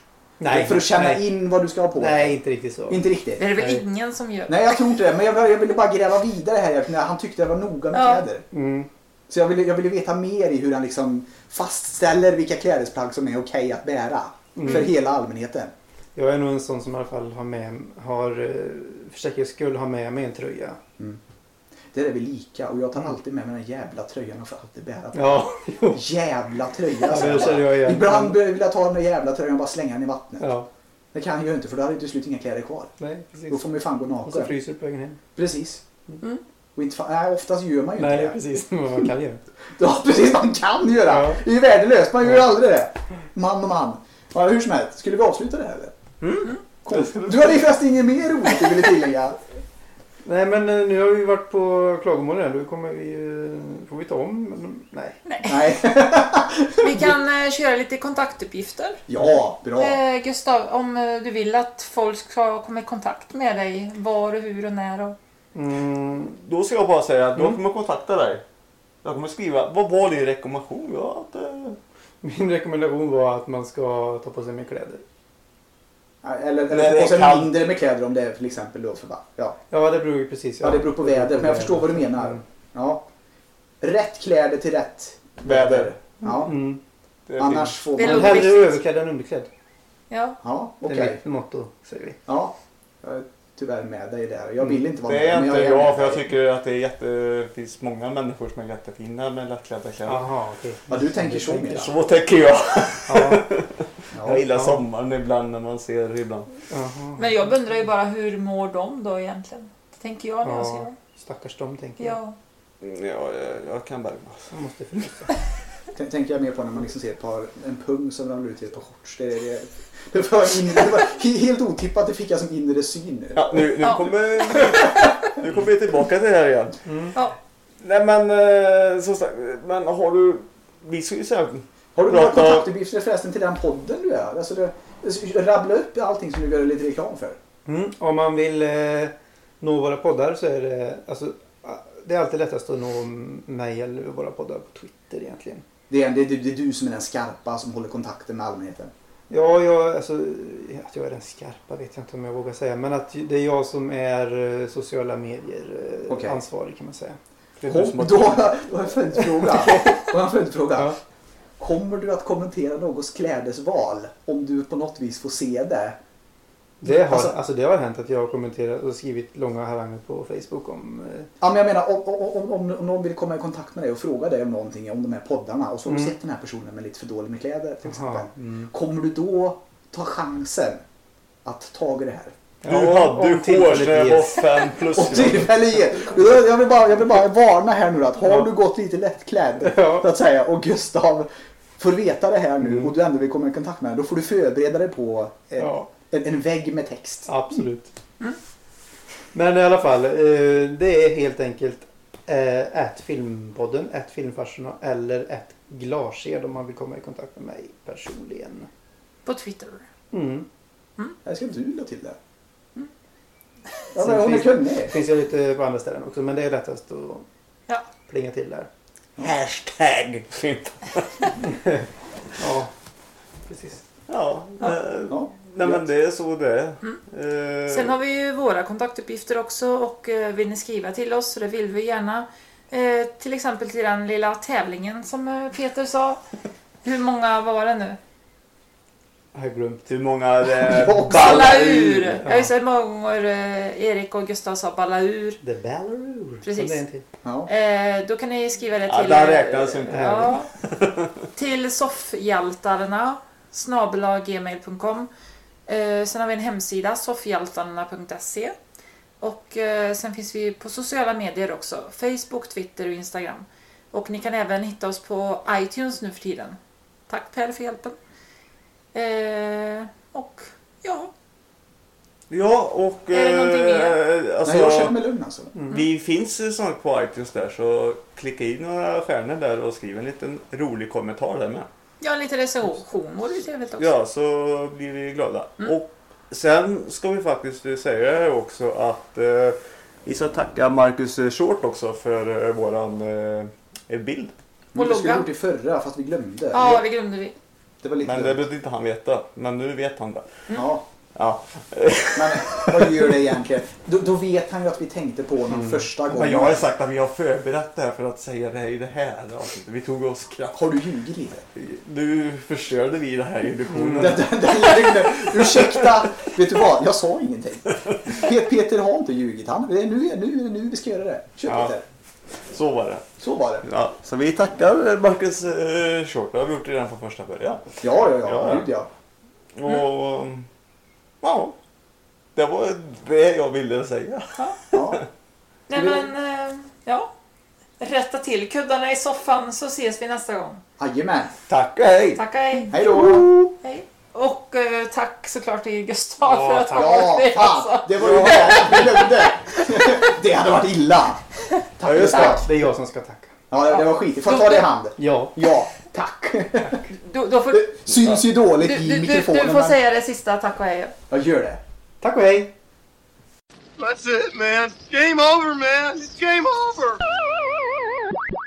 S1: för att känna
S4: nej.
S1: in vad du ska ha på
S4: Nej, inte riktigt så.
S1: Inte riktigt?
S2: Det är det väl
S4: Nej.
S2: ingen som gör.
S1: Nej, jag tror inte det. Men jag, jag ville bara gräva vidare här. Jag- Han tyckte jag var noga med
S2: Ja.
S1: kläder.
S4: Mm.
S1: Så jag ville, jag ville veta mer i hur han liksom fastställer vilka klädesplagg som är okej att bära.
S4: Mm.
S1: För hela allmänheten.
S4: Jag är nog en sån som i alla fall har med, har, eh, för säkerhets skull har med mig en tröja.
S1: Där är vi lika och jag tar alltid med mig den jävla tröjan och får alltid bära den.
S4: Ja, jo.
S1: Jävla tröja!
S4: Ja, det
S1: alltså.
S4: känner jag igen.
S1: Ibland vill jag ta den där jävla tröjan och bara slänga den i vattnet.
S4: Ja,
S1: Det kan jag ju inte för då hade jag till slut inga kläder kvar.
S4: nej
S1: Då
S4: precis.
S1: får man ju fan gå
S4: Och så
S1: naken.
S4: fryser du på vägen hem.
S1: Precis.
S2: Mm.
S1: Och inte fan, nej, oftast gör man ju inte
S4: Nej,
S1: det.
S4: precis. Vad man kan göra.
S1: Ja, precis. Man kan göra.
S4: Ja.
S1: Det är ju värdelöst. Man gör ju aldrig det. Man och man. Ja, hur som helst. Skulle vi avsluta det här eller?
S3: Mm.
S1: Cool. Du hade ju förresten inget mer roligt du ville tillägga.
S4: Nej, men eh, nu har vi varit på klagomål här. Då kommer vi ju... Får vi ta om? Men- Nej.
S1: Nej.
S2: Vi kan eh, köra lite kontaktuppgifter.
S1: Ja, bra.
S2: Eh, Gustav, om eh, du vill att folk ska komma i kontakt med dig, var och hur och när och...
S4: Mm,
S3: Då ska jag bara säga att jag
S4: Mm.
S3: kommer kontakta dig. Jag kommer skriva, vad var din rekommendation? Ja, att, eh,
S4: min rekommendation var att man ska ta på sig mer kläder.
S1: Eller,
S3: Nej,
S1: eller
S3: det
S1: och sen
S3: kan-
S1: mindre med kläder om det är till exempel då för va? Ja.
S4: Ja, det beror ju precis.
S1: ja, det beror på väder. Men jag förstår vad du menar.
S4: Mm.
S1: Ja. Rätt kläder till rätt
S3: väder.
S1: Ja.
S4: Mm.
S3: Det är fint.
S1: Annars får
S2: Det
S1: man...
S2: låter-
S4: Men hellre överklädd än underklädd.
S2: Ja,
S1: Ja,
S4: Det är
S1: okej.
S4: mitt motto, säger vi.
S1: Ja. Jag är tyvärr med dig där. Jag vill inte vara
S3: Mm. typ- Det är
S1: med. men
S3: inte
S1: med
S3: jag, för jag
S1: dig.
S3: tycker att det är jätte, det finns många människor som är jättefina med lättklädda kläder.
S4: Jaha, okej.
S1: Ja, du tänker så
S4: tänker
S1: Milla.
S3: Så tänker jag.
S4: Ja,
S3: Jag
S1: Ja.
S3: gillar
S4: ja.
S3: sommaren ibland när man ser ibland.
S4: jaha.
S2: men jag undrar ju bara hur mår de då egentligen? Det tänker jag när jag ser
S4: Ja,
S2: dem.
S4: stackars dem, tänker jag.
S2: Ja.
S3: Mm, Ja, jag, jag kan Bergman.
S4: Jag måste frysa.
S1: T- Tänker jag mer på när man liksom ser ett par, en pung som ramlar ut i ett par shorts. Det, är- det, är- det, var en inre, det var he- helt otippat, det fick jag som inre syn nu.
S3: Ja, nu, nu,
S2: Ja.
S3: Kommer, nu kommer vi tillbaka till det här igen.
S2: Ja.
S3: Nej men eh, som sagt, men har du... Vi ska ju säga...
S1: Har du några
S3: Prata-
S1: kontaktuppgifter förresten till den podden du är? Alltså det, rabbla upp allting som du gör lite reklam för.
S4: Mm. Om man vill eh, nå våra poddar så är det... Alltså, ah, det är alltid lättast att nå mig eller våra poddar på Twitter egentligen.
S1: Det är, det, är du- det är du som är den skarpa som håller kontakten med allmänheten.
S4: Ja, jag, alltså, att jag är den skarpa vet jag inte om jag vågar säga. Men att det är jag som är eh, sociala medier eh,
S1: Okej.
S4: ansvarig kan man säga.
S3: Det är du som
S1: Kom,
S3: har-
S1: då har jag- då har jag en följdfråga. Då har jag en följdfråga.
S4: Ja.
S1: Kommer du att kommentera någons klädesval om du på något vis får se det?
S4: Det har,
S1: Alltså-
S4: alltså, det har hänt att jag har kommenterat och skrivit långa haranger på Facebook om... eh,
S1: Ja, men jag menar om, om, om, om någon vill komma i kontakt med dig och fråga dig om någonting om de här poddarna och så har du
S4: Mm.
S1: sett den här personen med lite för dåligt med kläder till exempel.
S4: Jaha. Mm.
S1: Kommer du då ta chansen att ta i det här?
S3: Du
S4: Ja,
S3: hade
S4: om tillfället
S3: shorts när jag var
S4: ges.
S3: fem plus.
S1: Och tillfälle ge. Jag vill, bara, jag vill bara varna här nu att har
S4: Ja.
S1: du gått lite lättklädd
S4: Ja. Mm.
S1: så att säga och Gustav får veta det här nu och du ändå vill komma i kontakt med honom, då får du förbereda dig på en,
S4: Ja.
S1: en, en vägg med text.
S4: eh, Absolut. Men i alla fall, eh, det är helt enkelt eh, att filmpodden, att filmfarsorna eller att glarsed om man vill komma i kontakt med mig personligen.
S2: På Twitter.
S4: Mm.
S1: Här ska du la till det. Ja,
S4: Sen
S1: men hon är
S4: finns-
S1: kunnig.
S4: finns ju lite på andra ställen också men det är lättast att
S2: Ja.
S4: plinga till där.
S3: Hashtag.
S4: Ja, precis.
S3: Ja, nej,
S1: Ja.
S3: nej men det är så det är. Eh,
S2: Mm. Sen har vi ju våra kontaktuppgifter också och eh, vill ni skriva till oss, så det vill vi gärna. Eh, till exempel till den lilla tävlingen som eh, Peter sa. Hur många var det nu?
S4: Jag har glömt.
S3: Hur många eh, det
S1: Jag
S3: är
S1: också.
S2: Balla ur!
S4: ja.
S2: Jag har ju sett många gånger eh, Erik och Gustav sa balla ur.
S4: The Ballaroo.
S2: Precis.
S4: Som det är en till.
S1: Ja.
S2: Eh, då kan ni skriva det
S3: Ja,
S2: till... eh,
S3: där räknas inte
S2: ja, Till soffhjältarna snabelaggmail.com eh, Sen har vi en hemsida, soffhjältarna.se och eh, sen finns vi på sociala medier också. Facebook, Twitter och Instagram. Och ni kan även hitta oss på iTunes nu för tiden. Tack Per för hjälpen. Eh, och ja,
S3: Ja, och...
S2: Är det någonting mer?
S3: eh, alltså,
S1: Nej, jag känner mig lugn alltså.
S3: Vi finns ju snart på iTunes där så klicka in några stjärnor där och skriv en liten rolig kommentar där med.
S2: ja en liten recension vore ju trevligt också.
S3: Ja, så blir vi glada. Och sen ska vi faktiskt eh, säga här också att eh, vi ska tacka Marcus Short också för eh, våran eh, bild.
S1: Men vi skulle
S2: logga.
S1: gjort det förra fast vi glömde.
S2: Ja, det glömde vi.
S1: Det var lite
S3: Men det
S1: dumt.
S3: behövde inte han veta. Men nu vet han det.
S1: Ja.
S3: Ja.
S1: Men vad gör det egentligen? Då, då vet han ju att vi tänkte på honom första gången.
S3: Mm. Men jag har ju sagt att vi har förberett det här för att säga det här i det här avsnittet. Vi tog oss kraft.
S1: Har du ljugit lite?
S3: Nu förstörde vi det här illusionen.
S1: Den, den, den lögnen. Ursäkta! Vet du vad? Jag sa ingenting. Pe- Peter har inte ljugit. Han, det är nu, nu, nu vi ska göra det. Kör
S3: Ja.
S1: Peter.
S3: Så var det.
S1: Så var det.
S3: Ja, så vi tackar Marcus eh, Short. Det har vi gjort redan från första början.
S1: Ja, ja, ja.
S3: Ja.
S1: Gud, ja.
S3: Och ja, det var det jag ville säga.
S1: ja.
S2: Nej men, eh, ja. Rätta till kuddarna i soffan så ses vi nästa gång.
S1: Jajamän.
S3: Tack och hej!
S2: Tack och hej.
S1: Hej då!
S2: hej. Och eh, tack såklart till Gustav för att han var
S1: Ja,
S2: med.
S1: fan!
S2: Alltså.
S1: Det var ju det jag glömde. Det hade varit illa. Tack
S3: just det.
S1: Gustav.
S4: Det är jag som ska tacka.
S1: Ja, det var skit. Får jag ta det i hand?
S4: Ja.
S1: Ja, tack.
S2: Du, då får, du,
S1: Det syns ju dåligt
S2: du,
S1: i
S2: du, du
S1: mikrofonen.
S2: får
S1: men-
S2: säga det sista tack och hej.
S1: Jag gör det.
S4: Tack och hej!
S6: That's it, man. Game over, man. It's game over.